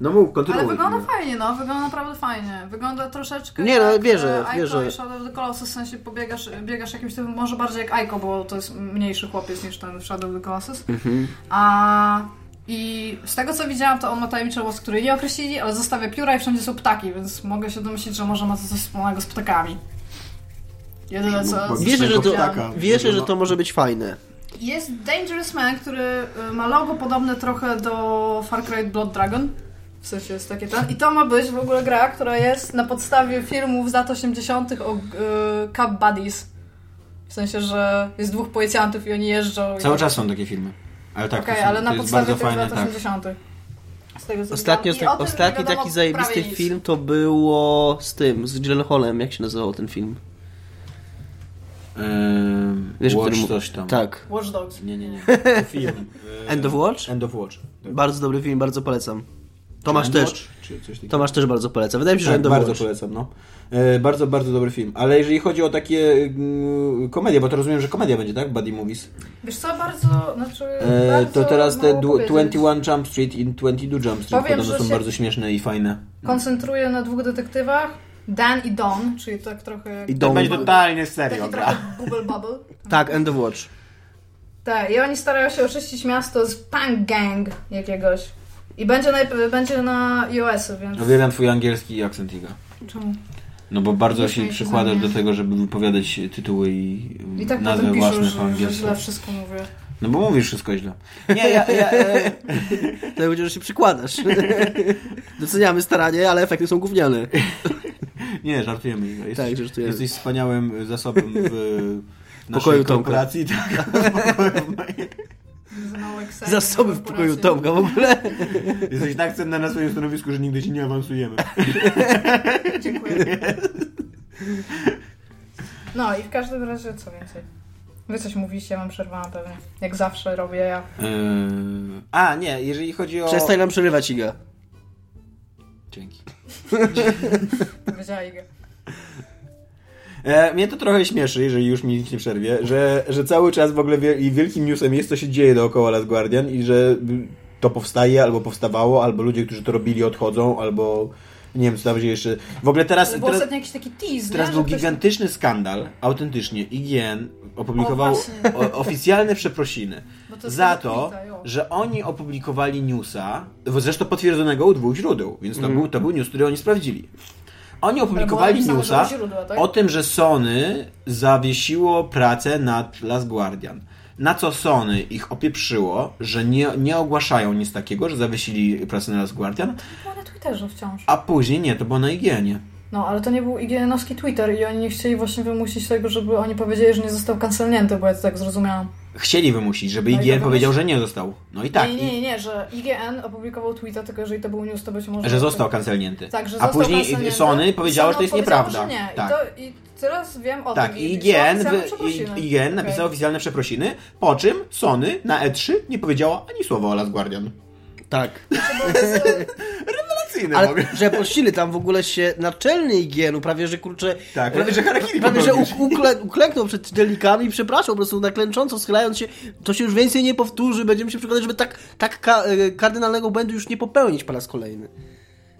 S3: No mów,
S4: Ale
S3: kontynuuj.
S4: wygląda fajnie, no, wygląda naprawdę fajnie. Wygląda troszeczkę.
S2: Nie, no,
S4: jak,
S2: wierzę,
S4: e, Aiko
S2: wierzę.
S4: i Shadow of the Colossus, w sensie pobiegasz, biegasz jakimś tym, może bardziej jak Aiko, bo to jest mniejszy chłopiec niż ten w Shadow of the Colossus.
S2: Mhm.
S4: A. I z tego co widziałam, to on ma tajemniczy głos, który nie określili, ale zostawia pióra i wszędzie są ptaki, więc mogę się domyślić, że może ma to coś wspólnego z ptakami. Jedyne co.
S3: Bo-
S2: Wierzę, że to,
S3: Ptaka.
S2: wierzę, że to może być fajne.
S4: Jest Dangerous Man, który y, ma logo podobne trochę do Far Cry Blood Dragon. W sensie jest takie ten. I to ma być w ogóle gra, która jest na podstawie filmów z lat 80. o y, Cup Buddies. W sensie, że jest dwóch policjantów i oni jeżdżą.
S3: Cały
S4: i... tak.
S3: czas są takie filmy. Ale tak,
S4: Okej,
S3: to są,
S4: ale na
S3: to jest
S4: podstawie
S3: bardzo
S4: tych
S3: fajne,
S4: lat
S3: tak.
S4: 80. Z tego, co
S2: Ostatnio,
S4: widziałam. I o tym
S2: ostatni
S4: nie wiadomo
S2: taki zajebisty
S4: prawie nic.
S2: film to było z tym, z Gyllenhaalem, jak się nazywał ten film?
S3: Ehm,
S2: Wiesz, o
S3: Watch
S2: którym-
S3: coś tam.
S2: Tak.
S4: Watch Dogs.
S3: Nie, nie, nie. Film. Ehm,
S2: End of Watch?
S3: End of Watch. Tak.
S2: Bardzo dobry film, bardzo polecam. Tomasz
S3: End of
S2: też.
S3: Watch, Czy coś takiego.
S2: Tomasz też bardzo poleca. Wydaje mi się, że
S3: Tak,
S2: End of
S3: bardzo
S2: Watch.
S3: polecam, no. E, bardzo, bardzo dobry film. Ale jeżeli chodzi o takie mm, komedie, bo to rozumiem, że komedia będzie, tak? Buddy Movies.
S4: Wiesz co, bardzo... Znaczy,
S3: E,
S4: bardzo
S3: to teraz te
S4: mało
S3: du-
S4: powiedzieć.
S3: 21 Jump Street i 22 Jump Street
S4: Powiem,
S3: podobno
S4: że
S3: są
S4: się-
S3: bardzo śmieszne i fajne.
S4: koncentruje na dwóch detektywach, Dan i Don, czyli tak trochę jak
S2: I Don.
S4: Bubble-
S3: totalnie
S4: taki trochę Bubble Bubble.
S2: Tak, End of Watch.
S4: Tak, i oni starają się oczyścić miasto z punk gang jakiegoś. I będzie na, będzie na iOS, więc...
S3: Uwielbiam twój angielski akcent, Iga.
S4: Czemu?
S3: No bo bardzo
S4: Dzisiaj
S3: się
S4: się
S3: przykładasz
S4: zamiast-
S3: do tego, żeby wypowiadać tytuły i,
S4: I tak
S3: nazwy
S4: potem piszą,
S3: własne po
S4: że, że
S3: angielsku.
S4: źle wszystko mówię.
S3: No bo mówisz wszystko źle. Nie, ja, ja, e,
S2: To będzie, że się przykładasz. Doceniamy staranie, ale efekty są gówniane.
S3: nie żartujemy. Iga. Jesteś,
S2: Tak, żartujemy.
S3: Jesteś wspaniałym zasobem w naszej
S2: Pokoju Tomka.
S3: korporacji. Tak, pokoju mojej.
S4: Za mało Excelu,
S2: Zasoby w pokoju
S4: korporacji.
S2: Tomka w ogóle.
S3: Jesteś tak cenna na swoim stanowisku, że nigdy ci nie awansujemy.
S4: Dziękuję. No i w każdym razie co więcej. Wy coś mówiliście, mam przerwałam pewnie. Jak zawsze robię ja.
S3: Eee, a, nie, jeżeli chodzi o...
S2: Przestań nam przerywać, Iga.
S3: Dzięki.
S4: Powiedziała Iga.
S3: E, mnie to trochę śmieszy, jeżeli już mi nic nie przerwie, że, że cały czas w ogóle wie, i wielkim newsem jest, co się dzieje dookoła Las Guardian i że to powstaje, albo powstawało, albo ludzie, którzy to robili, odchodzą, albo nie wiem, co tam się jeszcze... W ogóle teraz...
S4: To był
S3: teraz...
S4: ostatnio jakiś taki tease,
S3: Teraz
S4: nie? no,
S3: był
S4: Że ktoś-
S3: gigantyczny skandal, autentycznie. IGN opublikował
S4: O, właśnie.
S3: o, oficjalne przeprosiny
S4: Bo to jest
S3: za
S4: tego
S3: to,
S4: tweeta, jo.
S3: że oni opublikowali newsa, zresztą potwierdzonego u dwóch źródeł, więc to, był, to był news, który oni sprawdzili. Oni opublikowali
S4: napisane, że
S3: newsa
S4: u źródła, tak?
S3: o tym, że Sony zawiesiło pracę nad Last Guardian. Na co Sony ich opieprzyło, że nie, nie ogłaszają nic takiego, że zawiesili pracę na Last Guardian,
S4: Było na Twitterze wciąż.
S3: a później nie, to było na IGN-ie.
S4: No, ale to nie był IGN-owski Twitter i oni nie chcieli właśnie wymusić tego, żeby oni powiedzieli, że nie został kancelnięty, bo ja to tak zrozumiałam.
S3: Chcieli wymusić, żeby
S4: No i
S3: IGN
S4: to
S3: powiedział,
S4: wymyśl-
S3: że nie został. No i tak,
S4: nie, nie, nie, nie, że IGN opublikował tweeta, tylko jeżeli to był news, to być może...
S3: i- że został kancelnięty.
S4: Tak, że
S3: A
S4: został
S3: później
S4: kancelnięty.
S3: Sony powiedziało, że to jest
S4: powiedziało,
S3: nieprawda.
S4: że nie.
S3: Tak.
S4: I, to, I teraz wiem o
S3: Tak,
S4: tym.
S3: i
S4: są
S3: IGN,
S4: oficjalne
S3: wy-
S4: przeprosiny.
S3: i- IGN napisał
S4: Okej.
S3: oficjalne przeprosiny, po czym Sony na E3 nie powiedziała ani słowa o Last Guardian.
S2: Tak.
S3: Rewelacyjne
S2: Ale
S3: mogę.
S2: przeprosili tam w ogóle się naczelny IGN-u, prawie że kurczę. e,
S3: Tak, prawie, że harakiri
S2: Prawie, że
S3: popełnił.
S2: u- ukle, uklęknął przed czytelnikami i przepraszał po prostu naklęcząco, schylając się. To się już więcej nie powtórzy, będziemy się przekonać, żeby tak, tak ka, e, kardynalnego błędu już nie popełnić po raz kolejny.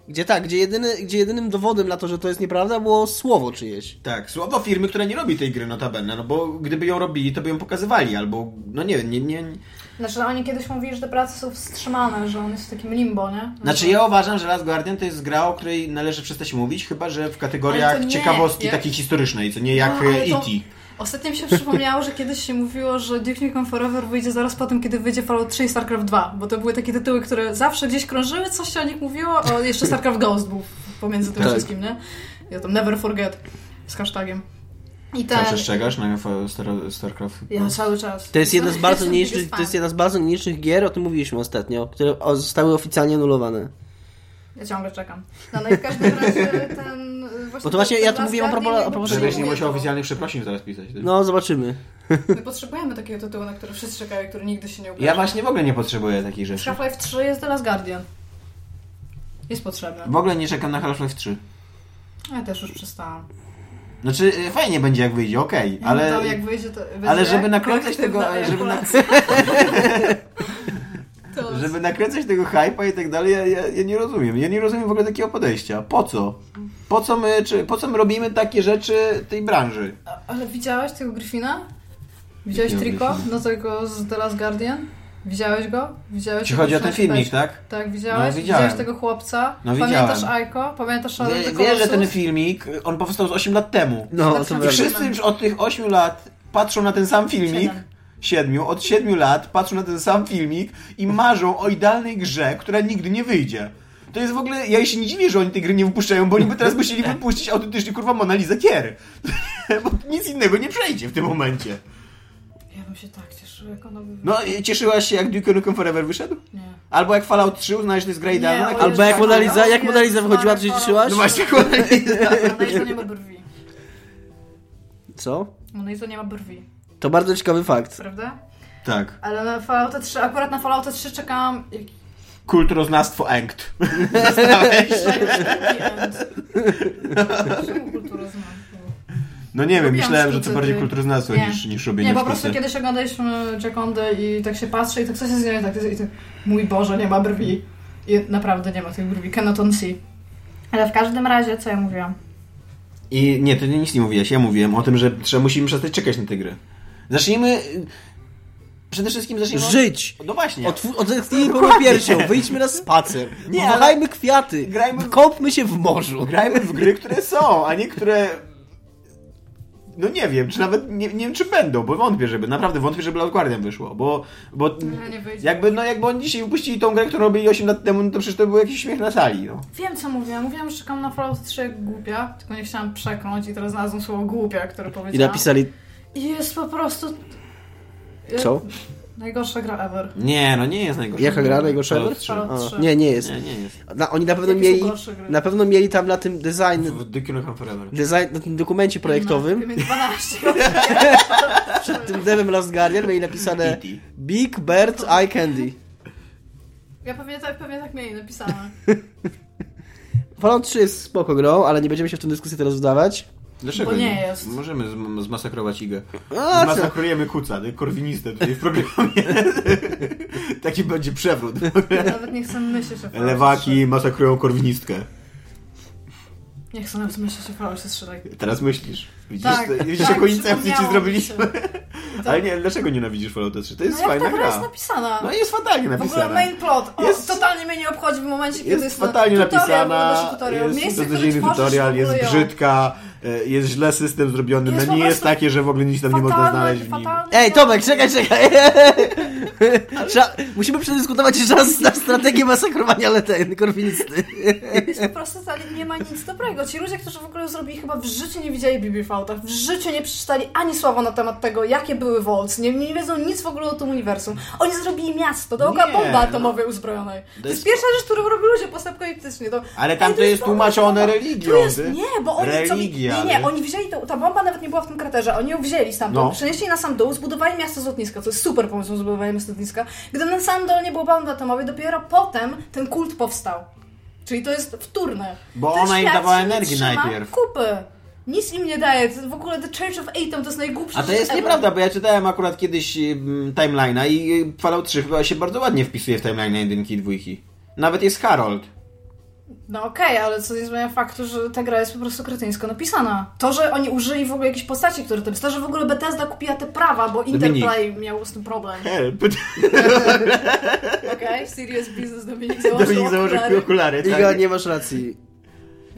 S2: Gdzie tak, gdzie, jedyny, gdzie jedynym dowodem na to, że to jest nieprawda, było słowo czyjeś.
S3: Tak, słowo firmy, która nie robi tej gry notabene, no bo gdyby ją robili, to by ją pokazywali, albo, no nie wiem, nie, nie...
S4: Znaczy, że oni kiedyś mówili, że te prace są wstrzymane, że on jest w takim limbo, nie?
S3: Znaczy ja uważam, że Last Guardian to jest gra, o której należy przestać mówić, chyba, że w
S4: Ale
S3: kategoriach
S4: to nie,
S3: ciekawostki
S4: jak-
S3: takiej historycznej, co nie jak
S4: No, ale
S3: e,
S4: to-
S3: E.T.
S4: Ostatnio mi się przypomniało, że kiedyś się mówiło, że Duke Nukem Forever wyjdzie zaraz po tym, kiedy wyjdzie Fallout 3 i StarCraft 2, bo to były takie tytuły, które zawsze gdzieś krążyły, coś się o nich mówiło, a jeszcze StarCraft Ghost był pomiędzy tym
S2: Tak.
S4: wszystkim, nie? Ja tam never forget z hashtagiem. I ten...
S3: Tak. przestrzegasz na F- Star- StarCraft?
S4: Ja cały czas.
S2: To jest jedna z bardzo
S4: Jestem
S2: nielicznych,
S4: biggest
S2: to jest
S4: fan.
S2: jedna z bardzo nielicznych gier, o tym mówiliśmy ostatnio, które o- zostały oficjalnie anulowane.
S4: Ja ciągle czekam. No, no i w każdym razie ten... y, Właśnie
S2: Bo to właśnie
S4: ten
S2: ja tu
S4: Last
S2: mówiłem a propos-
S4: Guardian
S2: a propos
S4: jakby
S3: Żebyś nie
S4: przyjmuje
S3: musiał
S4: to.
S3: oficjalnych przeprosin zaraz pisać. tak?
S2: No, zobaczymy.
S4: My potrzebujemy takiego tytułu, na który wszyscy czekają, który nigdy się nie ukaże.
S3: Ja właśnie w ogóle nie potrzebuję takich rzeczy.
S4: Half-Life 3 jest The Last Guardian. Jest potrzebne.
S3: W ogóle nie czekam na Half-Life 3.
S4: Ja też już przestałam.
S3: Znaczy, e, fajnie będzie jak wyjdzie, okej,
S4: Ja
S3: ale...
S4: No, to jak wyjdzie, to będzie
S3: ale żeby nakręcać tego-
S4: kolektywna
S3: żeby na-
S4: ejakulacja. To
S3: żeby nakręcać tego hype'a i tak dalej, ja, ja, ja nie rozumiem. Ja nie rozumiem w ogóle takiego podejścia. Po co? Po co my, czy, po co my robimy takie rzeczy tej branży?
S4: A- Ale widziałeś tego Griffina? Widziałeś
S3: Jakiego
S4: triko
S3: Griffina?
S4: do tego z The Last Guardian? Widziałeś go? Widziałeś
S3: Czy
S4: jego
S3: chodzi o ten
S4: książkę?
S3: filmik, tak?
S4: Tak, widziałeś?
S3: No, widziałem.
S4: widziałeś tego chłopca?
S3: No,
S4: Pamiętasz
S3: widziałem.
S4: Aiko? Pamiętasz Shadow of the
S3: Wie- Wiesz, że
S4: Colossus?
S3: ten filmik, on powstał z 8 lat temu.
S2: No,
S4: I
S2: to
S3: I
S2: prawda.
S3: wszyscy już od tych 8 lat patrzą na ten sam filmik.
S4: Siedem.
S3: Siedmiu, od siedmiu lat patrzą na ten sam filmik i marzą o idealnej grze, która nigdy nie wyjdzie. To jest w ogóle, ja się nie dziwię, że oni tej gry nie wypuszczają, bo oni by teraz musieli wypuścić autentycznie kurwa Mona Lisa Kier. bo nic innego nie przejdzie w tym momencie.
S4: Ja bym się tak cieszył, jak ono by...
S3: No, i cieszyłaś się jak Duke Nukem Forever wyszedł?
S4: Nie.
S3: Albo jak Fallout 3 uznałeś, że to jest tak. gra idealna?
S4: o
S3: Albo
S4: Jezu.
S2: Albo jak Mona Lisa, jak
S4: Jezu,
S2: Mona Lisa wychodziła, to się
S4: Mona Lisa.
S2: cieszyłaś?
S3: No właśnie, kurwa,
S4: Ona jeszcze nie ma brwi.
S2: Co?
S4: Ona jeszcze No nie ma brwi,
S2: To bardzo ciekawy fakt.
S4: prawda?
S3: Tak.
S4: Ale na Fallouta 3, akurat na Fallouta 3 czekałam... jak-
S3: Kulturoznawstwo Engt.
S4: Jaki end. Czemu kulturoznawstwo?
S3: No nie wiem,
S4: Lubiłam
S3: myślałem, że to
S4: sztuce,
S3: bardziej
S4: ty.
S3: kulturoznawstwo
S4: Nie.
S3: niż, niż robienie
S4: Nie, po
S3: sztuce.
S4: prostu kiedyś oglądaliśmy Jackondę i tak się patrzę i tak coś się z nią i tak, i tak mój Boże, nie ma brwi. I naprawdę nie ma tych brwi, cannot see. Ale w każdym razie, co ja mówiłam?
S3: I nie, to nie, nic nie mówiłaś. Ja mówiłem o tym, że trzeba, musimy przestać czekać na te gry. Zacznijmy. y, Przede wszystkim zacznijmy. od-
S2: Żyć!
S3: No właśnie.
S2: Otw- Odetchnijmy pełną piersią, wyjdźmy na spacer,
S3: Nie,
S2: nie,
S3: ale-
S2: kwiaty,
S3: Grajmy w-
S2: kąpmy się w morzu.
S3: Grajmy w gry, które są, a nie które. No nie wiem, czy nawet nie, nie wiem, czy będą, bo wątpię, żeby. Naprawdę wątpię, żeby Last Guardian wyszło, bo. bo
S4: Nie, nie wyjdzie.
S3: jakby, no, jakby oni dzisiaj wypuścili tą grę, którą robili 8 lat temu, no to przecież to był jakiś śmiech na sali. No.
S4: Wiem, co mówiłam. Mówiłam, że czekam na Fallout 3 jak głupia, tylko nie chciałam przekląć i teraz znalazłam słowo głupia, które
S2: I
S4: powiedziałam.
S2: napisali,
S4: I jest po prostu...
S3: Y,
S2: co?
S4: Najgorsza gra ever.
S3: Nie, no nie jest najgorsze.
S2: Jaka gra najgorsza?
S3: Fallout
S2: ever?
S3: 3.
S4: Fallout
S2: A,
S4: 3.
S2: Nie, nie jest.
S3: Nie, nie jest.
S2: Na, oni na pewno
S4: Jakie są
S2: mieli,
S4: gorsze gry?
S2: na pewno mieli tam na tym design,
S3: W Duke Nukem Forever.
S2: design na tym dokumencie
S3: No.
S2: projektowym,
S4: Miałem 12.
S2: przed tym devem Last Guardian mieli napisane
S3: E.T..
S2: Big Bird Eye Candy.
S4: Ja pewnie tak, pewnie tak mieli napisane.
S2: Fallout 3 jest spoko grą, ale nie będziemy się w tę dyskusję teraz wdawać.
S3: Dlaczego
S4: Bo nie jest.
S3: Możemy zm- zmasakrować Igę.
S2: A,
S3: Zmasakrujemy kuca, nie? korwinistę tutaj w programie. Taki będzie przewrót.
S4: Nawet nie chcę myśleć o Fallout 3.
S3: Lewaki masakrują korwinistkę.
S4: Nie chcę nawet myśleć o Falloutie 3. Tak.
S3: Teraz myślisz. Widzisz,
S4: Tak,
S3: to, widzisz
S4: tak,
S3: jaką incepcję ci
S4: przypomniało mi się.
S3: zrobiliśmy.
S4: To-
S3: Ale nie, dlaczego nienawidzisz Fallouta 3? To jest
S4: No jak
S3: fajna
S4: ta gra
S3: gra.
S4: jest napisana?
S3: No jest fatalnie
S4: w ogóle
S3: napisana.
S4: main plot. O,
S3: Jest-
S4: totalnie mnie nie obchodzi w momencie, kiedy
S3: Jest
S4: jest na-
S3: fatalnie
S4: tutorial,
S3: napisana,
S4: nasz tutorial.
S3: jest
S4: Miejsce, które
S3: beznadziejny
S4: tworzysz,
S3: tutorial,
S4: w ogóle
S3: jest
S4: ją.
S3: brzydka, e, jest źle system zrobiony,
S4: Jest
S3: menu
S4: po
S3: jest
S4: prostu
S3: takie, że w ogóle nic tam nie można
S4: Fatalny,
S3: znaleźć w nim.
S4: fatalny.
S2: Ej, Tomek, czekaj, czekaj! Trza, musimy przedyskutować jeszcze raz na strategię masakrowania leten, korwinisty.
S4: Jest po prostu totalnie nie ma nic dobrego. Ci ludzie, którzy w ogóle zrobili, chyba w życiu nie widzieli BB Falloutach, w życiu nie przeczytali ani słowa na temat tego, jakie były Vaults, nie, nie wiedzą nic w ogóle o tym uniwersum. Oni zrobili miasto, dookoła
S3: Nie,
S4: bomba
S3: no.
S4: atomowej uzbrojonej. To jest
S3: jest-
S4: pierwsza rzecz, którą robią ludzie postapokalityczni. To...
S3: Ale tam
S4: Ej,
S3: to jest
S4: bomba
S3: tłumaczone
S4: atomowa.
S3: religią,
S4: Tu jest...
S3: ty.
S4: Nie, bo oni...
S3: Religia,
S4: co... Nie, nie,
S3: ale-
S4: oni wzięli... To... Ta bomba nawet nie była w tym kraterze. Oni ją wzięli stamtąd,
S3: No.
S4: przenieśli na sam dół, zbudowali miasto z lotniska, co jest super pomysł zbudowanie miasta z lotniska, gdy na samym dole nie było bomby atomowej, dopiero potem ten kult powstał. Czyli to jest wtórne.
S3: Bo
S4: Ten
S3: ona im
S4: świat
S3: dawała
S4: się nie
S3: energii
S4: trzyma
S3: najpierw.
S4: kupy. Nic im nie daje. To W ogóle The Church of Atom to jest najgłupsze.
S3: A to jest nieprawda, bo ja czytałem akurat kiedyś mm, timeline'a i y, Fallout 3 chyba się bardzo ładnie wpisuje w timeline'a jedynki i dwójki. Nawet jest Harold.
S4: No okej, ale co nie zmienia faktu, że ta gra jest po prostu kretyńsko napisana. To, że oni użyli w ogóle jakiejś postaci, które tam jest, to, że w ogóle Bethesda kupiła te prawa, bo
S3: Dominik.
S4: Interplay miał z tym problem.
S3: Help.
S4: Okej, serious business
S3: Dominik
S4: Dominik założył
S3: założył
S4: okulary.
S3: okulary.
S2: Iga,
S3: Tak.
S2: nie masz racji.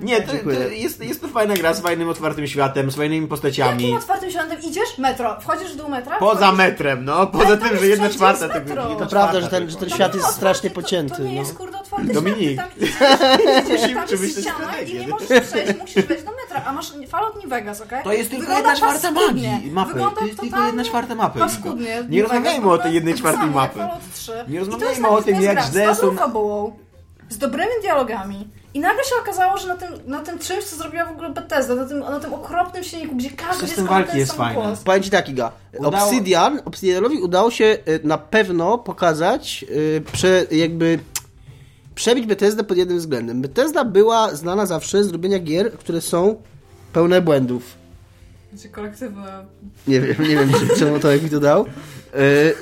S3: Nie, to, to
S2: Dziękuję.
S3: jest, jest to fajna gra z fajnym otwartym światem, z fajnymi postaciami.
S4: Jakim otwartym światem idziesz? Metro. Wchodzisz w dół metra?
S3: Poza
S4: wchodzisz-
S3: metrem, no. Poza
S4: Ale tam
S3: tym, że
S4: jest
S3: jedna
S4: wszędzie
S3: czwarta
S4: jest
S3: tego...
S4: metro.
S3: jedna
S4: To
S2: prawda,
S3: czwarta
S2: że ten-
S3: tylko.
S2: że ten
S4: To
S2: świat
S4: nie
S2: jest strasznie
S4: otwarty, To,
S2: pocięty,
S4: to nie
S2: no.
S4: jest kurde otwarty
S3: Dominik.
S4: świat. Ty Tam idziesz,
S3: Musimy
S4: tam jest
S3: przemyśleć
S4: ściana i
S3: strategię.
S4: nie możesz przejść, musisz wejść do metra. A masz Fallout New Vegas, okej?
S3: To jest tylko
S4: Wygląda
S3: jedna czwarta
S4: paskudnie.
S3: magii, mapy.
S4: Wygląda
S3: To jest tylko
S4: totalnie
S3: jedna czwarta mapy.
S4: Paskudnie.
S3: Nie rozmawiajmy o tej jednej
S4: Tak
S3: czwartej
S4: samo jak
S3: mapy.
S4: Fallout 3.
S3: Nie
S4: I to jest
S3: rozmawiajmy o tym,
S4: napisane
S3: jak
S4: z
S3: źle
S4: gra, z
S3: są-
S4: dobrą fabułą, z dobrymi dialogami. I nagle się okazało, że na tym, na tym czymś, co zrobiła w ogóle Bethesda, na tym, na tym okropnym silniku, gdzie każdy
S3: System
S4: jest
S3: walki
S4: ten
S3: jest
S4: sam
S3: fajny.
S4: głos.
S2: Powiem ci tak, Iga.
S3: Udało-
S2: Obsidian, Obsidianowi udało się y, na pewno pokazać, y, prze, jakby przebić Bethesdę pod jednym względem. Bethesda była znana zawsze z robienia gier, które są pełne błędów.
S4: Znaczy kolektywne
S2: Nie wiem, nie wiem czemu to jak mi to dał. Y,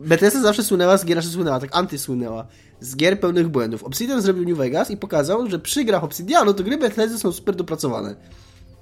S2: Bethesda zawsze słynęła z gier, znaczy słynęła, tak antysłynęła, z gier pełnych błędów. Obsidian zrobił New Vegas i pokazał, że przy grach Obsidianu to gry Bethesdy są super dopracowane.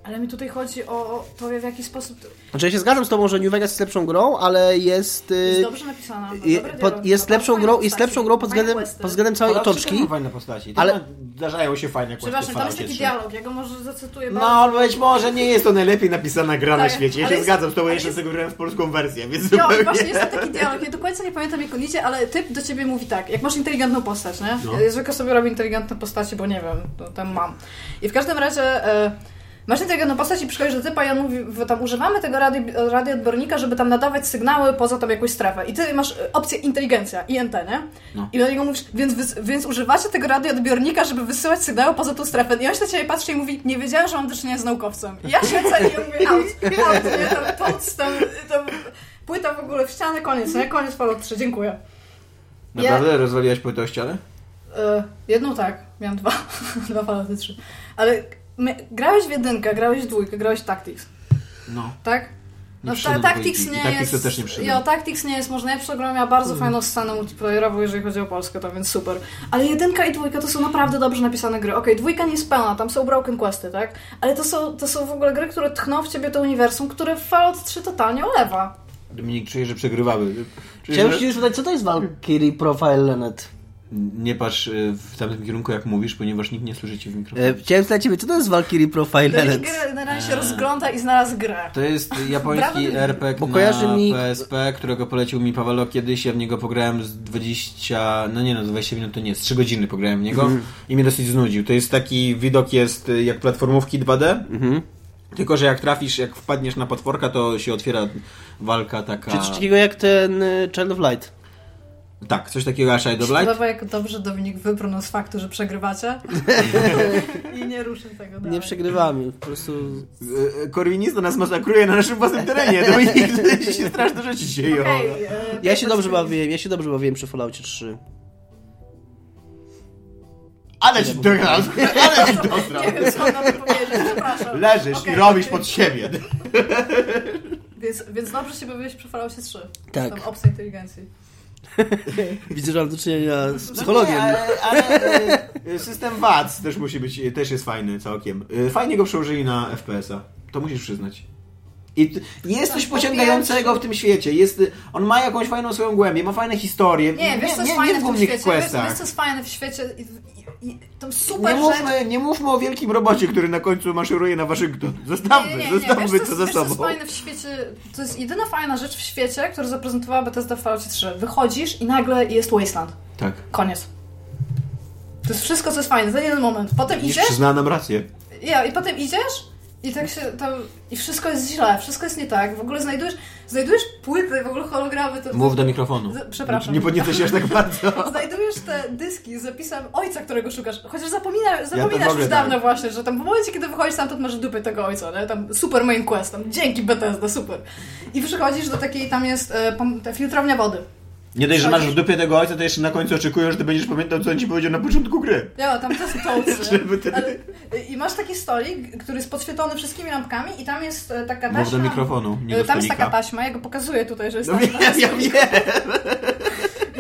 S4: Ale mi tutaj chodzi o, o to, w jaki sposób
S2: Znaczy ja się zgadzam z tobą, że New Vegas jest lepszą grą, ale jest... y,
S4: jest dobrze no, napisana.
S2: je- pod, jest
S4: No,
S2: lepszą grą, jest lepszą grą pod względem, pod względem całej
S3: Polacy też
S2: otoczki.
S3: mają fajne postaci,
S2: Ale-
S3: ale zdarzają się fajne questy
S4: Przepraszam, tam jest taki
S3: falacie
S4: dialog, ja go może zacytuję.
S3: No,
S4: bardzo.
S3: ale być może nie jest to najlepiej napisana gra na
S4: Tak,
S3: świecie. Ja
S4: ale
S3: się
S4: jest-
S3: zgadzam z tobą,
S4: ale
S3: ja jeszcze
S4: jest-
S3: sobie grałem w polską wersję, więc
S4: Jo,
S3: zupełnie...
S4: i właśnie jest tam taki dialog. Ja do końca nie pamiętam jak on idzie, ale typ do ciebie mówi tak, jak masz inteligentną postać, nie?
S3: No.
S4: Ja Zwykle sobie robię inteligentne postaci, bo nie wiem, to tam mam. I w każdym razie e, masz inteligentną postać i przychodzisz do typa i on mówi, wy tam używamy tego radi, radioodbornika, żeby tam nadawać sygnały poza tam jakąś strefę. I ty masz e, opcję inteligencja, INT, nie?
S3: No.
S4: I do niego mówisz, więc, wys- więc używacie tego radioodbiornika, żeby wysyłać sygnały poza tą strefę. No I on się na ciebie patrzy i mówi, nie wiedziałem, że mam do czynienia z naukowcem. I ja siedzę i ja mówię, out, out, nie, tam, poc, tam, tam, płyta w ogóle w ścianę, koniec, nie? Koniec Fallout 3, dziękuję.
S3: Naprawdę rozwaliłaś płytę o ścianę?
S4: E, jedną tak, miałam dwa, dwa Fallouty 3. Ale my, grałeś w jedynkę, grałeś w dwójkę, grałałeś w Tactics,
S3: No.
S4: tak?
S3: Nie
S4: No, ta,
S3: przyszedłem do
S4: Tactics
S3: dwójki i
S4: nie
S3: Tacticsa
S4: jest...
S3: też nie przyszedłem. Mm.
S4: jo, Tactics nie jest może najlepsza gra, miała bardzo fajną scenę multiplayerową, jeżeli chodzi o Polskę, to więc super. Ale jedynka i dwójka to są naprawdę dobrze napisane gry. Okej, dwójka nie jest pełna, tam są broken questy, tak? Ale to są, to są w ogóle gry, które tchną w ciebie to uniwersum, które w Fallout 3 totalnie olewa.
S3: Dominik, czuję, że przegrywamy. Czuję,
S2: Chciałem
S3: że...
S2: się zapytać, co to jest Valkyrie Profile Lenet?
S3: Nie patrz y, w tamtym kierunku, jak mówisz, ponieważ nikt nie słyszy cię w mikrofonie.
S2: E, Chciałem zapytać ciebie, co to jest Valkyrie Profile Lenet?
S4: Ten generalnie się rozgląda i znalazł grę.
S3: To jest
S4: Brawo,
S3: japoński
S4: Dominik.
S3: RPG
S2: Bo
S3: na
S2: kojarzy mi-
S3: PSP, którego polecił mi Pawelo kiedyś, ja w niego pograłem z 20, no nie no, 20 minut to nie, z 3 godziny pograłem w niego
S2: Mhm.
S3: i mnie dosyć znudził. To jest taki, widok jest y, jak platformówki 2D,
S2: Mhm.
S3: tylko że jak trafisz, jak wpadniesz na potworka, to się otwiera walka taka...
S2: Czy coś takiego jak ten e, Child of Light?
S3: Tak, coś takiego jak Shadow Light.
S4: Podoba, jak dobrze Dominik wybrnął z faktu, że przegrywacie. I nie ruszę tego dalej.
S2: Nie przegrywamy, po prostu...
S3: Y, y, Korwinista nas masakruje na naszym własnym terenie, to nikt się straszne rzeczy dzieją.
S4: Okej, e,
S2: Ja się
S4: to
S2: dobrze
S4: jest-
S2: bawiłem, ja się dobrze bawiłem przy Falloutie 3.
S3: Ale ci dograł, ale ci dograł.
S4: Nie wiem, co mam powiedzieć, przepraszam.
S3: Leżysz
S4: Okej, No
S3: i robisz
S4: okej.
S3: pod siebie.
S4: Więc, więc dobrze się bawiłeś przy Falloutie 3.
S2: Tak.
S4: Tam opcja inteligencji.
S2: Widzę, że mam do czynienia z psychologiem.
S3: No nie, ale, ale
S4: e,
S3: y, system VAT też musi być, y, też jest fajny całkiem. Y, Fajnie go przełożyli na FPS-a. To musisz przyznać. I t- jest coś
S4: po
S3: pociągającego w tym świecie. Jest, y, on ma jakąś fajną swoją głębię, ma fajne historie.
S4: Nie, wiesz co jest
S3: nie, nie
S4: fajne w
S3: w
S4: tym
S3: głównych
S4: świecie? Wiesz,
S3: questach.
S4: wiesz co jest fajne w świecie? I, i, i, tam super
S3: nie,
S4: rzecz...
S3: mówmy, nie mówmy o wielkim robocie, który na końcu maszeruje na Waszyngton. Zostawmy, zostawmy
S4: wiesz,
S3: to
S4: jest-
S3: za
S4: wiesz,
S3: sobą.
S4: To jest fajne w świecie, to jest jedyna fajna rzecz w świecie, którą zaprezentowała Bethesda w Falloutie 3. Wychodzisz i nagle jest Wasteland.
S3: Tak.
S4: Koniec. To jest wszystko, co jest fajne, za jeden moment. Potem
S3: Iż
S4: idziesz,
S3: przyznała nam rację.
S4: ja, i potem idziesz i tak się tam, i wszystko jest źle, wszystko jest nie tak. W ogóle znajdujesz, znajdujesz płyty, w ogóle hologramy. To,
S3: Mów do mikrofonu.
S4: Z- przepraszam.
S3: Nie podniecę się aż tak bardzo.
S4: Znajdujesz te dyski z zapisem ojca, którego szukasz. Chociaż zapomina,
S3: to w
S4: zapominasz
S3: ogóle
S4: już dawno
S3: tak.
S4: właśnie, że tam w momencie, kiedy wychodzisz tam, to masz dupy tego ojca, nie? Tam super main quest, tam dzięki Bethesda, super. I przychodzisz do takiej, tam jest e, pom- ta filtrownia wody.
S3: Nie dość, że masz w dupie tego ojca, to jeszcze na końcu oczekują, że ty będziesz pamiętał, co on ci powiedział na początku gry.
S4: Ja, tam to są tołcy.
S3: Żeby ty-
S4: Ale- y, I masz taki stolik, który jest podświetlony wszystkimi lampkami i tam jest e, taka taśma...
S3: Mów do mikrofonu, nie
S4: E,
S3: do
S4: Tam jest
S3: stolika.
S4: taka taśma, ja go pokazuję tutaj, że jest
S3: No
S4: taśma.
S3: wiem, ja wiem.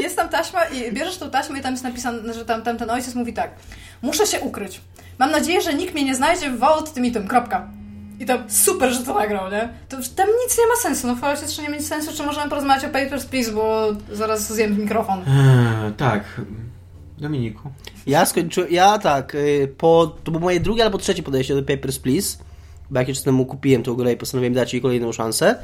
S4: Jest tam taśma i bierzesz tą taśmę i tam jest napisane, że tam, tam ten ojciec mówi tak. Muszę się ukryć. Mam nadzieję, że nikt mnie nie znajdzie w Vault tym i tym, kropka. I tam super, że to nagrał, nie? To już tam nic nie ma sensu, no w Falloutie 3 nie ma nic sensu, czy możemy porozmawiać o Papers, Please, bo zaraz zjem mikrofon.
S3: Eee, tak. Dominiku.
S2: Ja skończyłem, ja tak, y, po, to było moje drugie albo trzecie podejście do Papers, Please, bo jakiś czas temu kupiłem tą grę i postanowiłem dać jej kolejną szansę.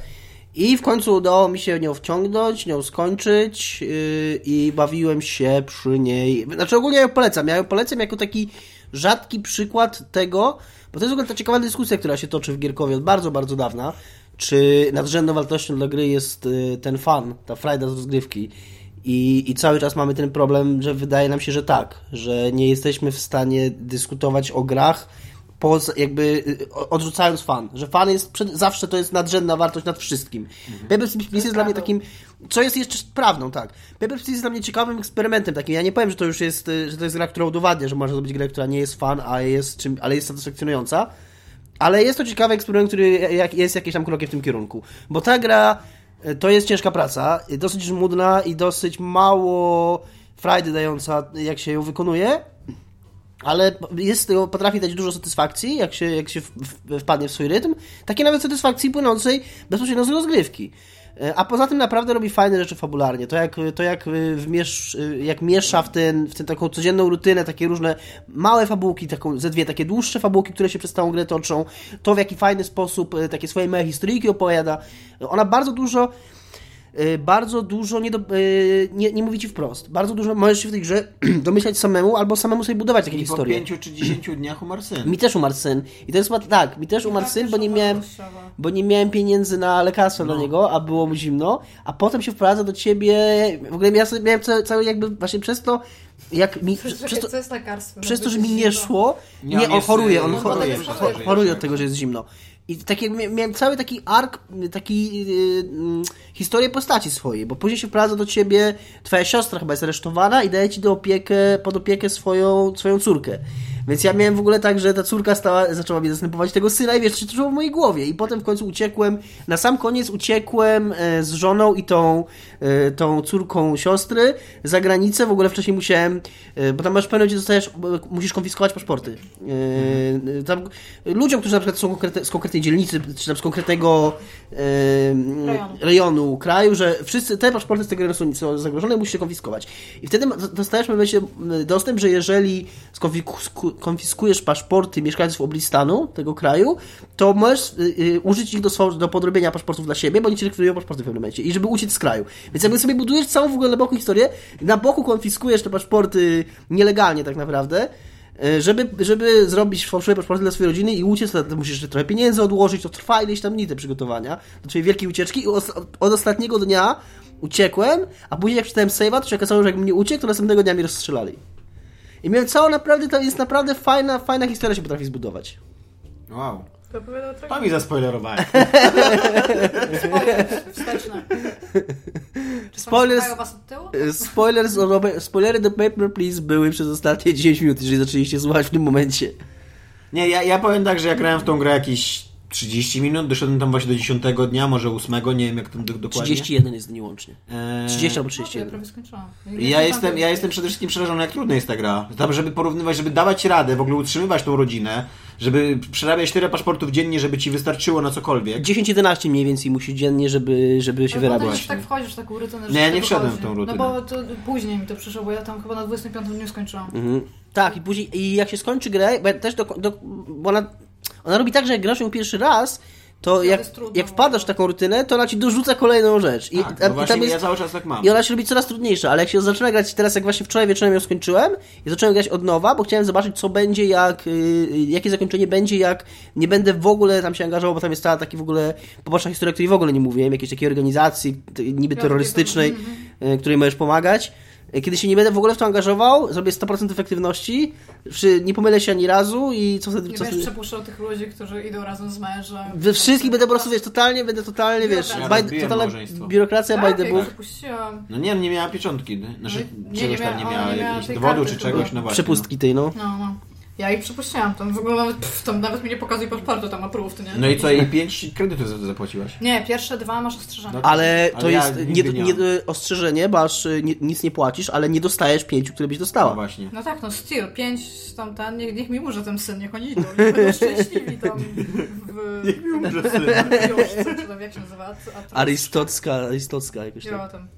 S2: I w końcu udało mi się nią wciągnąć, nią skończyć y, i bawiłem się przy niej. Znaczy ogólnie ja ją polecam, ja ją polecam jako taki rzadki przykład tego, bo to jest w ogóle ta ciekawa dyskusja, która się toczy w Gierkowie od bardzo, bardzo dawna, czy nadrzędną wartością dla gry jest y, ten fan, ta frajda z rozgrywki. I, I cały czas mamy ten problem, że wydaje nam się, że tak, że nie jesteśmy w stanie dyskutować o grach, poza, jakby y, o- odrzucając fan, że fan jest przed, zawsze to jest nadrzędna wartość nad wszystkim. Papers, Please jest dla mnie
S4: prawdą.
S2: takim, co jest jeszcze prawdą, tak. Papers, Please jest dla mnie ciekawym eksperymentem takim. Ja nie powiem, że to już jest, y, że to jest gra, która udowadnia, że można zrobić grę, która nie jest fan, a jest czym, ale jest satysfakcjonująca. Ale jest to ciekawy eksperyment, który jak, jest jakieś tam krokiem w tym kierunku. Bo ta gra e, To jest ciężka praca, e, dosyć żmudna i dosyć mało frajdy dająca, jak się ją wykonuje, ale jest, z tego- potrafi dać dużo satysfakcji, jak się, jak się w- w- wpadnie w swój rytm. Takiej nawet satysfakcji płynącej bezpośrednio z rozgrywki. E, A poza tym naprawdę robi fajne rzeczy fabularnie. To jak, to jak, y, wmiesz, y, jak miesza w tę w ten taką codzienną rutynę takie różne małe fabułki, taką, ze dwie takie dłuższe fabułki, które się przez całą grę toczą, to w jaki fajny sposób y, takie swoje małe historyjki opowiada. Ona bardzo dużo y, bardzo dużo nie, do, y, nie, nie mówi ci wprost. Bardzo dużo możesz się w tej grze domyślać samemu albo samemu sobie budować takie
S3: I po
S2: historie.
S3: 5 czy 10 dniach umarł syn.
S2: Mi też umarł syn. I to jest chyba tak, mi też umarł
S4: Tak,
S2: syn,
S4: też
S2: bo nie
S4: ona
S2: miałem.
S4: posiada.
S2: Bo nie miałem pieniędzy na lekarstwo dla niego, a było mu zimno, a potem się wprowadza do ciebie. W ogóle ja sobie miałem cały, cały jakby właśnie przez to, jak mi.
S4: Przez,
S2: Przez to,
S4: co jest lekarstwo?
S2: przez to, że
S4: Żeby
S2: mi nie
S4: się-
S2: szło,
S3: Nie,
S2: nie,
S3: on
S2: on
S3: jest,
S2: choruje,
S3: y,
S2: on
S3: no,
S2: choruje,
S4: choruje,
S2: choruje,
S4: choruje,
S2: choruje od
S3: tak.
S2: tego, że jest zimno. I tak jak mia- miałem cały taki ark, y, taki y, mm, historię postaci swojej, bo później się wprowadza do ciebie, twoja siostra chyba jest aresztowana i daje ci do opiekę, pod opiekę swoją, swoją córkę. Więc ja miałem w ogóle tak, że ta córka stała, zaczęła mnie zastępować tego syna i wiesz, to się toczyło w mojej głowie. I potem w końcu uciekłem, na sam koniec uciekłem e, z żoną i tą, e, tą córką siostry za granicę. W ogóle wcześniej musiałem, e, bo tam masz pewność, że dostajesz, bo musisz konfiskować paszporty. E, e, Tam, ludziom, którzy na przykład są konkretne, z konkretnej dzielnicy, czy tam z konkretnego e, m,
S4: Rejonu.
S2: rejonu, kraju, że wszyscy te paszporty z tego rejonu są- są zagrożone, musisz je konfiskować. I wtedy ma- dostajesz w pewnym momencie m, dostęp, że jeżeli skonfisku- konfiskujesz paszporty mieszkańców oblistanu tego kraju, to możesz y, y, użyć ich do, swo- do podrobienia paszportów dla siebie, bo oni ci likwidują paszporty w pewnym momencie i żeby uciec z kraju. Więc jakby sobie budujesz całą w ogóle na boku historię, na boku konfiskujesz te paszporty nielegalnie tak naprawdę, E, żeby, żeby zrobić fałszywe paszporty dla swojej rodziny i uciec, to to musisz jeszcze trochę pieniędzy odłożyć, to trwa ileś tam dni te przygotowania do twojej wielkiej ucieczki i os- od ostatniego dnia uciekłem, a później jak przeczytałem save'a, to się okazało, że jak mnie uciekł, to następnego dnia mnie rozstrzelali. I miałem całą naprawdę, to jest naprawdę fajna, fajna historia się potrafi zbudować.
S3: Wow.
S4: To opowiadał trochę
S3: To mi zaspoilerowałeś.
S4: wsteczne. Czy
S2: Spoiler-
S4: Spoiler... was od tyłu?
S2: E, Spoiler z Robe- spoilery do Paper Please były przez ostatnie 10 minut, jeżeli zaczęliście słuchać w tym momencie.
S3: Nie, ja, ja powiem tak, że ja grałem w tą grę jakieś 30 minut, doszedłem tam właśnie do 10 dnia, może 8, nie wiem jak tam do- dokładnie.
S2: 31 jest dni łącznie.
S3: Eee,
S2: 30 albo
S4: No, to ja
S2: 31.
S4: prawie skończyłam.
S3: Ja jestem, ja jestem przede wszystkim przerażony, jak trudna jest ta gra. Tam, żeby porównywać, żeby dawać radę, w ogóle utrzymywać tą rodzinę, żeby przerabiać tyle paszportów dziennie, żeby ci wystarczyło na cokolwiek.
S2: 10-11 mniej więcej musi dziennie, żeby, żeby się
S4: No, potem
S2: wyrabiać.
S4: już tak wchodzisz w taką rutynę, że
S3: Nie,
S4: się
S3: nie
S4: tego
S3: wszedłem
S4: chodzi.
S3: w tą rutynę.
S4: No bo to później mi to przyszło, bo ja tam chyba na 25 dniu skończyłam.
S2: Mhm. Tak, i później, i jak się skończy grę, bo ja też do, do, bo ona, ona robi tak, że jak grasz ją pierwszy raz, to jak,
S4: jest trudno, no.
S2: jak wpadasz w taką rutynę, to ona ci dorzuca kolejną rzecz. I,
S3: Tak,
S2: a- i
S3: no właśnie, ja cały czas tak mam.
S2: I ona się robi coraz trudniejsza, ale jak się zaczyna grać teraz, jak właśnie wczoraj wieczorem ją skończyłem, i zacząłem grać od nowa, bo chciałem zobaczyć, co będzie, jak, y, jakie zakończenie będzie, jak nie będę w ogóle tam się angażował, bo tam jest cała taki w ogóle poboczna historia, o której w ogóle nie mówiłem, jakiejś takiej organizacji t- niby terrorystycznej,
S4: no.
S2: y, której możesz pomagać. Y, Kiedy się nie będę w ogóle w to angażował, zrobię 100% efektywności, przy, nie pomylę się ani razu i co wtedy...
S4: Nie
S2: Co
S4: będziesz
S2: wtedy...
S4: przepuszczał tych ludzi, którzy idą razem z mężem.
S2: We wszystkich będę po prostu, wiesz, totalnie, będę totalnie, wiesz,
S4: Biurokracja.
S3: Ja
S2: by,
S3: rozbiłem
S2: totalna
S3: małżeństwo.
S2: biurokracja
S4: tak,
S2: by the
S4: jak
S2: book.
S4: przepuściłam.
S3: No nie, nie miała pieczątki, nie?
S4: No
S3: znaczy
S4: i- nie,
S3: czegoś
S4: nie
S3: tam nie
S4: miała-
S3: miała,
S4: ona nie miała
S3: jakiegoś
S4: tej
S3: dowodu
S4: karty
S3: czy
S4: chyba.
S3: czegoś, no właśnie.
S2: Przepustki tej, no.
S4: No, no. Ja ich przepuściłam, tam w ogóle nawet, pff, tam nawet mi nie pokazuje paszportu, tam aprób, to nie?
S3: No i co, i 5 kredytów za to zapłaciłaś?
S4: Nie, pierwsze dwa masz ostrzeżone.
S3: No.
S2: Ale
S3: Ale
S2: to
S3: ja
S2: jest nie,
S3: nigdy nie
S2: nie, ostrzeżenie, bo aż y, nie, nic nie płacisz, ale nie dostajesz pięciu, które byś
S3: No
S2: dostała.
S3: właśnie.
S4: No tak, no Steel, pięć tam ten, niech, niech mi umrze ten syn, niech oni idą, niech będą szczęśliwi tam w... Niech mi umrze
S3: syn.
S2: No.
S4: czy tam jak się nazywa? A-
S2: Arystotska, arystotska jakoś
S4: Ja
S2: tak.
S4: o tym.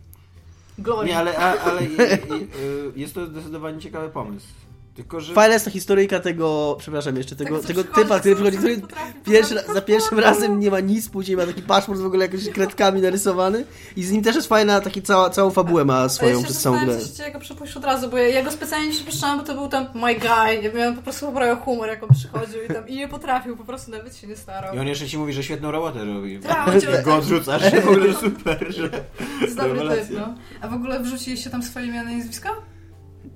S4: Glory.
S3: Nie, ale, a, ale i, i, y, jest to zdecydowanie ciekawy pomysł. Tylko, że...
S2: Fajna jest ta historyjka tego, przepraszam jeszcze, tego,
S4: co
S2: tego
S4: przychodzi,
S2: typa, który
S4: co
S2: przychodzi,
S4: już
S2: który
S4: potrafi
S2: pierwszy,
S4: podać
S2: za pierwszym
S4: paszportu.
S2: razem nie ma nic, później ma taki paszport w ogóle jakimiś kredkami narysowany i z nim też jest fajna, taki cała, całą fabułę ma
S4: A ja
S2: swoją
S4: się
S2: przez całą
S4: zastanawiam,
S2: grę.
S4: czy cię go przepuść od razu, bo ja, ja go specjalnie nie przepuszczałam, bo to był tam my guy. Ja miałam po prostu poprawiał humor, jak on przychodził i tam i nie potrafił, po prostu nawet się nie starał.
S3: I on jeszcze ci mówi, że świetną robotę robi.
S4: Tak,
S3: Jak go odrzucasz, w ogóle super, że...
S4: Jest dobry typ,
S3: Rewelacja.
S4: no. A w ogóle wrzuciliście tam swoje imiona i nazwiska?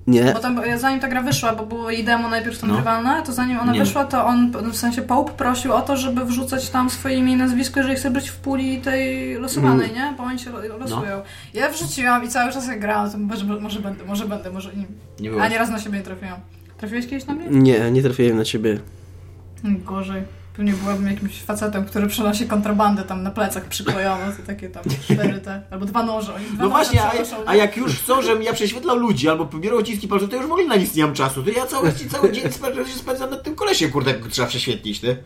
S2: Nie,
S4: Bo tam, e, zanim ta gra wyszła, bo było jej demo najpierw tam
S3: No.
S4: grywalne, to zanim ona
S3: Nie.
S4: wyszła, to on, w sensie Pope prosił o to, żeby wrzucać tam swoje imię i nazwisko, jeżeli chce być w puli tej losowanej, nie? Bo oni się
S3: No.
S4: lo- losują. Ja wrzuciłam i cały czas jak grałam, to może, może będę, może będę, może nie.
S3: Nie
S4: A
S3: było.
S4: nie raz na siebie nie trafiłam. Trafiłeś kiedyś na mnie?
S2: nie, nie trafiłem na ciebie.
S4: Mm, Gorzej. Pewnie byłabym jakimś facetem, który przenosi kontrabandę tam na plecach przyklejone, to takie tam cztery te, albo dwa noże. Oni dwa
S3: No
S4: noże
S3: właśnie, a,
S4: przenoszą.
S3: a jak już chcą, żebym ja prześwietlał ludzi albo pobierał odciski palców, to już w ogóle na nic nie mam czasu. To ja cały, cały dzień spędzam, się spędzam nad tym kolesie, kurde, którego trzeba prześwietlić, ty.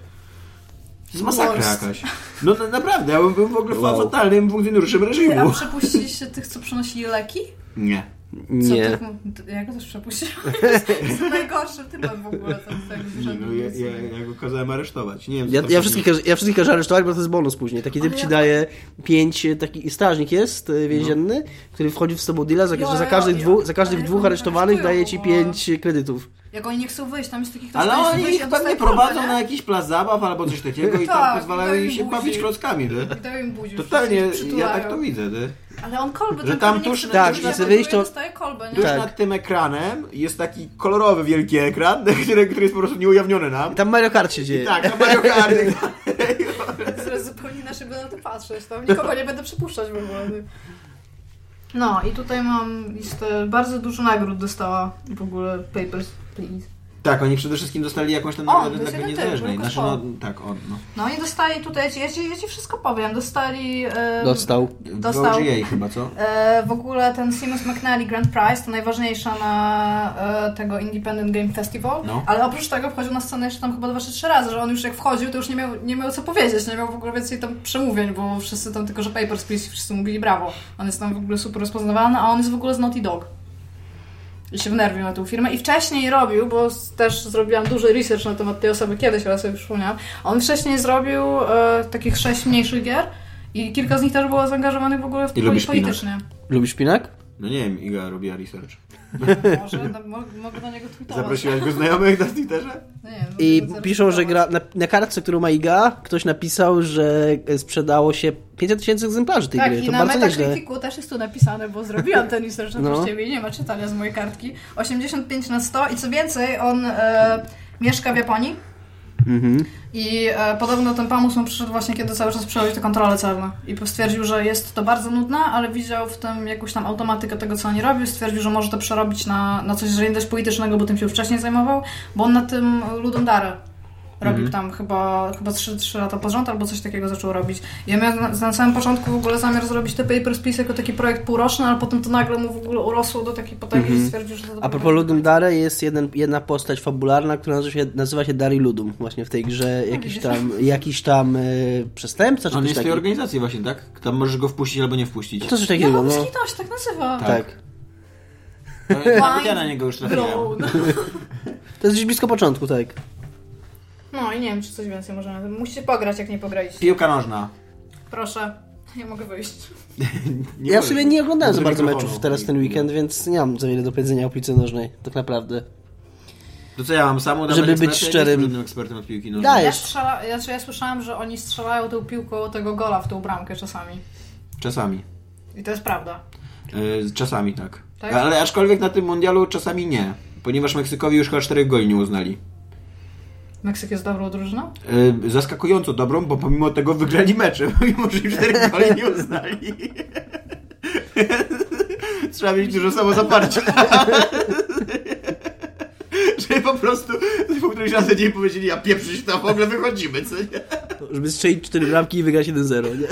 S3: To jest masakra
S4: Worst.
S3: jakaś. No na, naprawdę, ja bym był w ogóle fa-
S2: Wow.
S3: fatalnym funkcjonariuszem
S4: A
S3: reżimu.
S4: przepuściliście tych, co przynosili leki?
S3: Nie.
S4: Co tak,
S2: Nie.
S4: Tych, ja go też przepuściłam. Jestem najgorszym typem w ogóle. Tam, tak,
S3: Nie, no, ja, ja, ja go kazałem aresztować. Nie wiem, co
S2: Ja,
S3: tam
S2: ja,
S3: się
S2: wszystkich,
S3: dzieje.
S2: każ- ja wszystkich każę aresztować, bo to jest bonus później. Taki typ
S4: Ale
S2: ci
S4: ja-
S2: daje pięć, e, taki strażnik jest
S4: No.
S2: e, więzienny, który wchodzi w z tobą deala, za,
S4: Jo,
S2: że za
S4: jo,
S2: każdych,
S4: jo.
S2: dwóch, za każdych
S4: No, Ale
S2: dwóch
S4: oni
S2: aresztowanych
S4: aresztują no.
S2: daje ci
S4: w ogóle.
S2: pięć e, kredytów.
S4: Jak oni nie chcą wyjść, tam jest taki ktoś,
S3: Ale
S4: kto nie chce
S3: oni
S4: wyjść,
S3: ich
S4: on
S3: pewnie
S4: dostaje kulę,
S3: prowadzą
S4: nie?
S3: na jakiś plac zabaw albo coś takiego i tam
S4: Tak,
S3: pozwalają
S4: dają
S3: im się
S4: buzi.
S3: bawić klockami, ty.
S4: I dają buzi.
S3: Totalnie,
S4: wszyscy
S3: ja
S4: przytulają.
S3: tak to widzę, ty.
S4: Ale on kolby,
S3: Że
S4: ten
S3: tam
S4: kolb nie
S3: tuż-
S4: chce
S2: tak,
S4: wyjść,
S2: że
S4: jak
S2: chce
S4: on
S2: wyjść, to-
S4: dostaje kolbę, nie?
S3: Tuż
S2: Tak.
S3: nad tym ekranem jest taki kolorowy wielki ekran, który, który jest po prostu nieujawniony nam.
S2: I tam Mario Kart się dzieje.
S3: Tak, na Mario Kart. i tak dalej.
S4: Zaraz zupełnie inaczej będę na to patrzeć. Tam nikogo nie będę przypuszczać w ogóle. No i tutaj mam listę. Bardzo dużo nagród dostała w ogóle Papers, Please.
S3: Tak, oni przede wszystkim dostali jakąś tam
S4: O,
S3: nagrodę
S4: to jest
S3: dla gry
S4: jeden typ,
S3: niezależnej.
S4: Lucas
S3: Znaczy, no, tak, on, no.
S4: No i dostali tutaj, ja ci, ja ci, ja ci wszystko powiem. Dostali... em,
S2: Dostał.
S4: Dostał.
S3: W OGA chyba, co?
S4: E, w ogóle ten Seamus McNally Grand Prize to najważniejsza na e, tego Independent Game Festival,
S3: No.
S4: ale oprócz tego wchodził na scenę jeszcze tam chyba dwa czy trzy razy, że on już jak wchodził, to już nie miał, nie miał co powiedzieć, nie miał w ogóle więcej tam przemówień, bo wszyscy tam tylko, że Papers, Please wszyscy mówili brawo. On jest tam w ogóle super rozpoznawany, a on jest w ogóle z Naughty Dog. I się wnerwił na tą firmę. I wcześniej robił, bo s- też zrobiłam duży research na temat tej osoby kiedyś, ale sobie przypomniałam. On wcześniej zrobił e, takich sześć mniejszych gier i kilka z nich też było zaangażowanych w ogóle w
S3: I lubi
S4: poli-
S3: szpinak.
S4: politycznie.
S2: Lubisz pinak?
S3: No nie wiem, Iga robiła research.
S4: Może no, mo- mogę do niego tweetować. No
S3: Zaprosiłaś go znajomych na Twitterze?
S4: Nie, wiem, mogę
S2: I
S4: go zaraz
S2: piszą, że gra,
S4: tweetować.
S2: na, na kartce, którą ma IGA, ktoś napisał, że e, sprzedało się 500 tysięcy egzemplarzy tej
S4: Tak,
S2: gry.
S4: i
S2: To
S4: na
S2: bardzo nieźle.
S4: Metacriticu też jest tu napisane, bo zrobiłam ten research
S2: No.
S4: oczywiście no. nie ma czytania z mojej kartki. 85 na 100 i co więcej, on e, mieszka w Japonii
S2: Mhm.
S4: i e, podobno ten pomysł mu przyszedł właśnie, kiedy cały czas przechodzi te kontrole celne i stwierdził, że jest to bardzo nudne, ale widział w tym jakąś tam automatykę tego, co oni robią, stwierdził, że może to przerobić na, na coś, że nie dość politycznego, bo tym się już wcześniej zajmował, bo on na tym ludom dary Robił
S2: Mhm.
S4: tam chyba, chyba 3, 3 lata pod rząd albo coś takiego zaczął robić. Ja miałem na, na samym początku w ogóle zamiar zrobić te Papers, Please jako taki projekt półroczny, ale potem to nagle mu w ogóle urosło do takiej potęgi, że stwierdził, że to
S2: Mhm. A propos Ludum Dare jest jeden, jedna postać fabularna, która nazywa się, nazywa się Dari Ludum. Właśnie w tej grze jakiś
S4: No, widzisz.
S2: tam, jakiś tam y, przestępca czy
S3: On
S2: coś
S3: jest w tej
S2: takiego.
S3: organizacji właśnie, tak? Tam możesz go wpuścić albo nie wpuścić.
S2: To coś
S4: No,
S2: takiego,
S4: no.
S2: no.
S4: Ktoś tak nazywa.
S3: Tak.
S2: Tak.
S3: To- Nawet No, ja na niego już trafiłem.
S4: Grown.
S2: Tak. To jest gdzieś blisko początku, tak.
S4: No i nie wiem, czy coś więcej możemy. Musicie pograć, jak nie pograliście.
S3: Piłka nożna.
S4: Proszę, ja mogę wyjść.
S3: Nie
S2: Ja w
S3: mówię.
S2: sumie nie oglądałem za
S3: Do
S2: bardzo
S3: mikrofonu.
S2: meczów teraz ten weekend, więc nie mam za wiele do powiedzenia o piłce nożnej, tak naprawdę.
S3: To co ja mam samo
S2: Żeby być
S3: Ja nie
S2: szczerym.
S3: jestem żadnym ekspertem od piłki nożnej.
S2: Dajesz.
S4: Ja, strzela, ja, ja słyszałam, że oni strzelają tą piłką tego gola w tą bramkę czasami.
S3: Czasami.
S4: I to jest prawda.
S3: E, Czasami tak.
S4: Tak?
S3: Ale aczkolwiek na tym mundialu czasami nie. Ponieważ Meksykowi już chyba czterech goli nie uznali.
S4: Meksyk jest dobrą drużyną?
S3: E, Zaskakująco dobrą, bo pomimo tego wygrali mecze, pomimo że im czterech goli nie uznali. Trzeba mieć dużo samozaparcia. Że po prostu po którymś razie nie powiedzieli, a pieprzyć tam w ogóle wychodzimy, co nie?
S2: No, Żeby strzelić cztery bramki i wygrać 1-0, nie?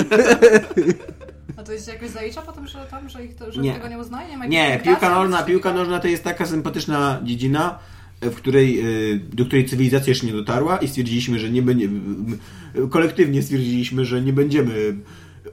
S4: A to jest jakoś zalicza potem, że tam, że ich to, że
S3: Nie.
S4: tego nie uznaje? Nie, ma
S3: Nie,
S4: jakiejś
S3: piłka
S4: gracji?
S3: nożna, piłka nożna to jest taka sympatyczna dziedzina, w której, y, do której cywilizacja jeszcze nie dotarła i stwierdziliśmy, że nie będzie, kolektywnie stwierdziliśmy, że nie będziemy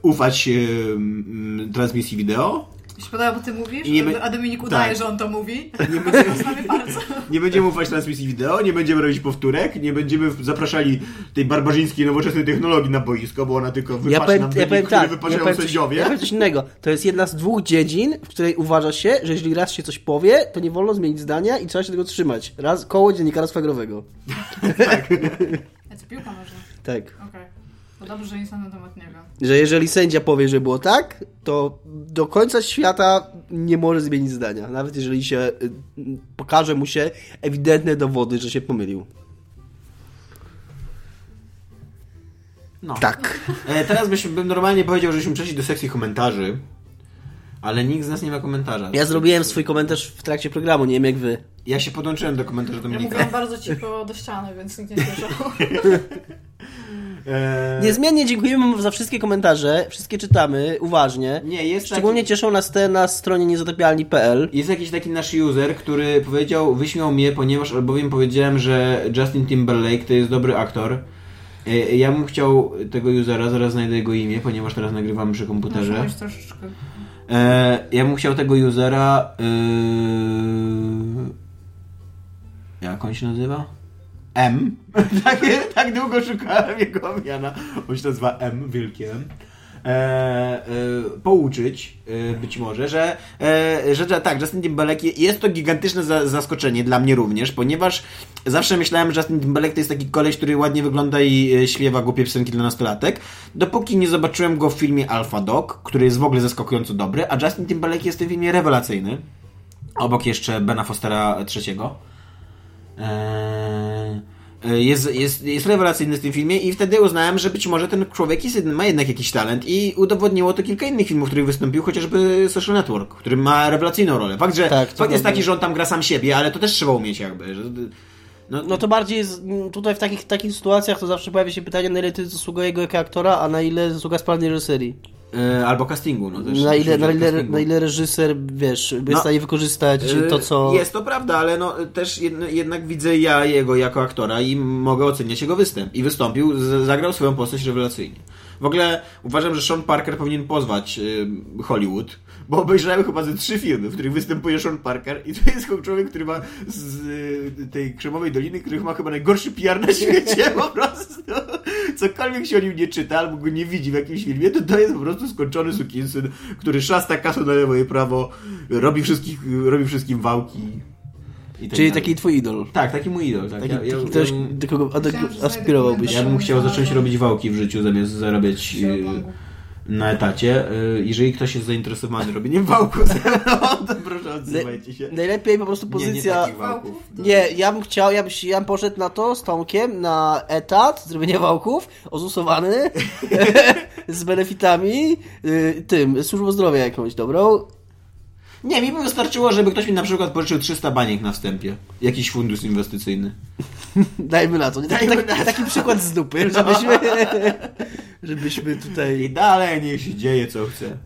S3: ufać y, mm, transmisji wideo,
S4: Mi się podoba, bo ty mówisz,
S3: I nie be-
S4: a Dominik udaje,
S3: tak.
S4: że on to mówi. Nie będzie... palce.
S3: nie będziemy ufać transmisji wideo, nie będziemy robić powtórek, nie będziemy zapraszali tej barbarzyńskiej nowoczesnej technologii na boisko, bo ona tylko wypatrzy
S2: Ja powiem,
S3: nam
S2: ja
S3: wyniki,
S2: powiem
S3: które
S2: tak, ja
S3: wypaczają
S2: powiem, coś,
S3: sędziowie.
S2: ja powiem coś innego. To jest jedna z dwóch dziedzin, w której uważa się, że jeśli raz się coś powie, to nie wolno zmienić zdania i trzeba się tego trzymać. Raz koło dziennikarstwa growego.
S4: A co, piłka nożna?
S2: Tak.
S4: Okej. To dobrze, że nic na ten temat nie wiem.
S2: Że jeżeli sędzia powie, że było tak, to do końca świata nie może zmienić zdania. Nawet jeżeli się y, y, pokaże mu się ewidentne dowody, że się pomylił.
S3: No.
S2: Tak.
S3: E, teraz byśmy, bym normalnie powiedział, żeśmy przeszli do sekcji komentarzy, ale nikt z nas nie ma komentarza.
S2: Ja zrobiłem swój komentarz w trakcie programu, nie wiem jak wy.
S3: Ja się podłączyłem do komentarza
S4: Ja
S3: Dominika.
S4: mówiłam bardzo cicho do ściany, więc nikt nie słyszał.
S3: Eee,
S2: Niezmiennie dziękujemy za wszystkie komentarze, wszystkie czytamy uważnie.
S3: nie, jest
S2: Szczególnie
S3: taki,
S2: cieszą nas te na stronie niezatapialni.pl.
S3: Jest jakiś taki nasz user, który powiedział, wyśmiał mnie, ponieważ albowiem powiedziałem, że Justin Timberlake to jest dobry aktor. Eee, Ja bym chciał tego usera, zaraz znajdę jego imię, ponieważ teraz nagrywamy przy komputerze.
S4: Muszę mieć troszeczkę.
S3: E, ja bym chciał tego usera. e, Yy... Jak on się nazywa? M. tak, tak długo szukałem jego imienia. On się nazywa M, wielkie M. E, e, pouczyć e, być może, że, e, że, że tak, Justin Timberlake je- jest to gigantyczne za, zaskoczenie dla mnie również, ponieważ zawsze myślałem, że Justin Timberlake to jest taki koleś, który ładnie wygląda i e, śpiewa głupie piosenki dla nastolatek, dopóki nie zobaczyłem go w filmie Alpha Dog, który jest w ogóle zaskakująco dobry, a Justin Timberlake jest w tym filmie rewelacyjny. Obok jeszcze Bena Fostera III. Eee, Jest, jest, jest rewelacyjny w tym filmie i wtedy uznałem, że być może ten człowiek jest, ma jednak jakiś talent i udowodniło to kilka innych filmów, w których wystąpił, chociażby Social Network, który ma rewelacyjną rolę. Fakt, że
S2: Tak, to
S3: fakt jest
S2: prawda.
S3: taki, że on tam gra sam siebie, ale to też trzeba umieć jakby. Że, no,
S2: No to bardziej z, m, tutaj w takich, takich sytuacjach to zawsze pojawia się pytanie, na ile to jest zasługa jego jako aktora, a na ile zasługa sprawnej reżyserii.
S3: e, albo castingu. No, też,
S2: Na ile,
S3: też
S2: na, ile,
S3: castingu.
S2: na ile reżyser, wiesz, jest
S3: No.
S2: w stanie wykorzystać to, co...
S3: Y, Jest to prawda, ale no, y, też jedn- jednak widzę ja jego jako aktora i mogę oceniać jego występ. I wystąpił, z- zagrał swoją postać rewelacyjnie. W ogóle uważam, że Sean Parker powinien pozwać y, Hollywood, bo obejrzałem chyba ze trzy filmy, w których występuje Sean Parker i to jest człowiek, który ma z y, tej Krzemowej Doliny, który ma chyba najgorszy PR na świecie po prostu. Cokolwiek się o nim nie czyta albo go nie widzi w jakimś filmie, to to jest po prostu skończony sukinsyn, który szasta kasą na lewo i prawo, robi, wszystkich, robi wszystkim wałki. i tak
S2: Czyli
S3: dalej.
S2: taki twój idol.
S3: Tak, taki mój idol. Tak.
S2: Taki,
S3: ja, ja,
S2: taki ktoś,
S3: ja, bym-
S2: do kogo a do-
S4: Myślałam, że znajdę
S2: aspirowałbyś.
S3: ja bym chciał zacząć robić wałki w życiu, zamiast zarabiać
S4: Się
S3: y,
S4: oglądam.
S3: na etacie. Y, jeżeli ktoś jest zainteresowany robieniem wałku ze mną, to proszę odzywajcie się.
S2: Najlepiej po prostu
S3: Nie, nie
S2: pozycja...
S3: takich wałków.
S2: Nie, ja bym chciał, ja bym, się- ja bym poszedł na to z Tomkiem, na etat, zrobienie wałków, ozusowany, z benefitami, y, tym, służbą zdrowia jakąś dobrą.
S3: Nie, mi by wystarczyło, żeby ktoś mi na przykład pożyczył 300 baniek na wstępie. Jakiś fundusz inwestycyjny.
S2: Dajmy na to. No. Nie, Taki,
S3: Dajmy
S2: taki, taki przykład z dupy, żebyśmy, żebyśmy
S3: I
S2: tutaj...
S3: dalej niech się dzieje co chce.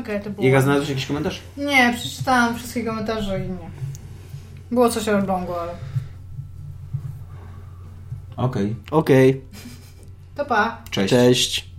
S4: Okej, to było.
S3: Iga, znalazłeś jakiś komentarz?
S4: Nie, przeczytałam wszystkie komentarze i nie. Było coś o Elblągu, ale...
S3: Okej.
S2: Okej,
S4: To pa!
S3: Cześć.
S2: cześć.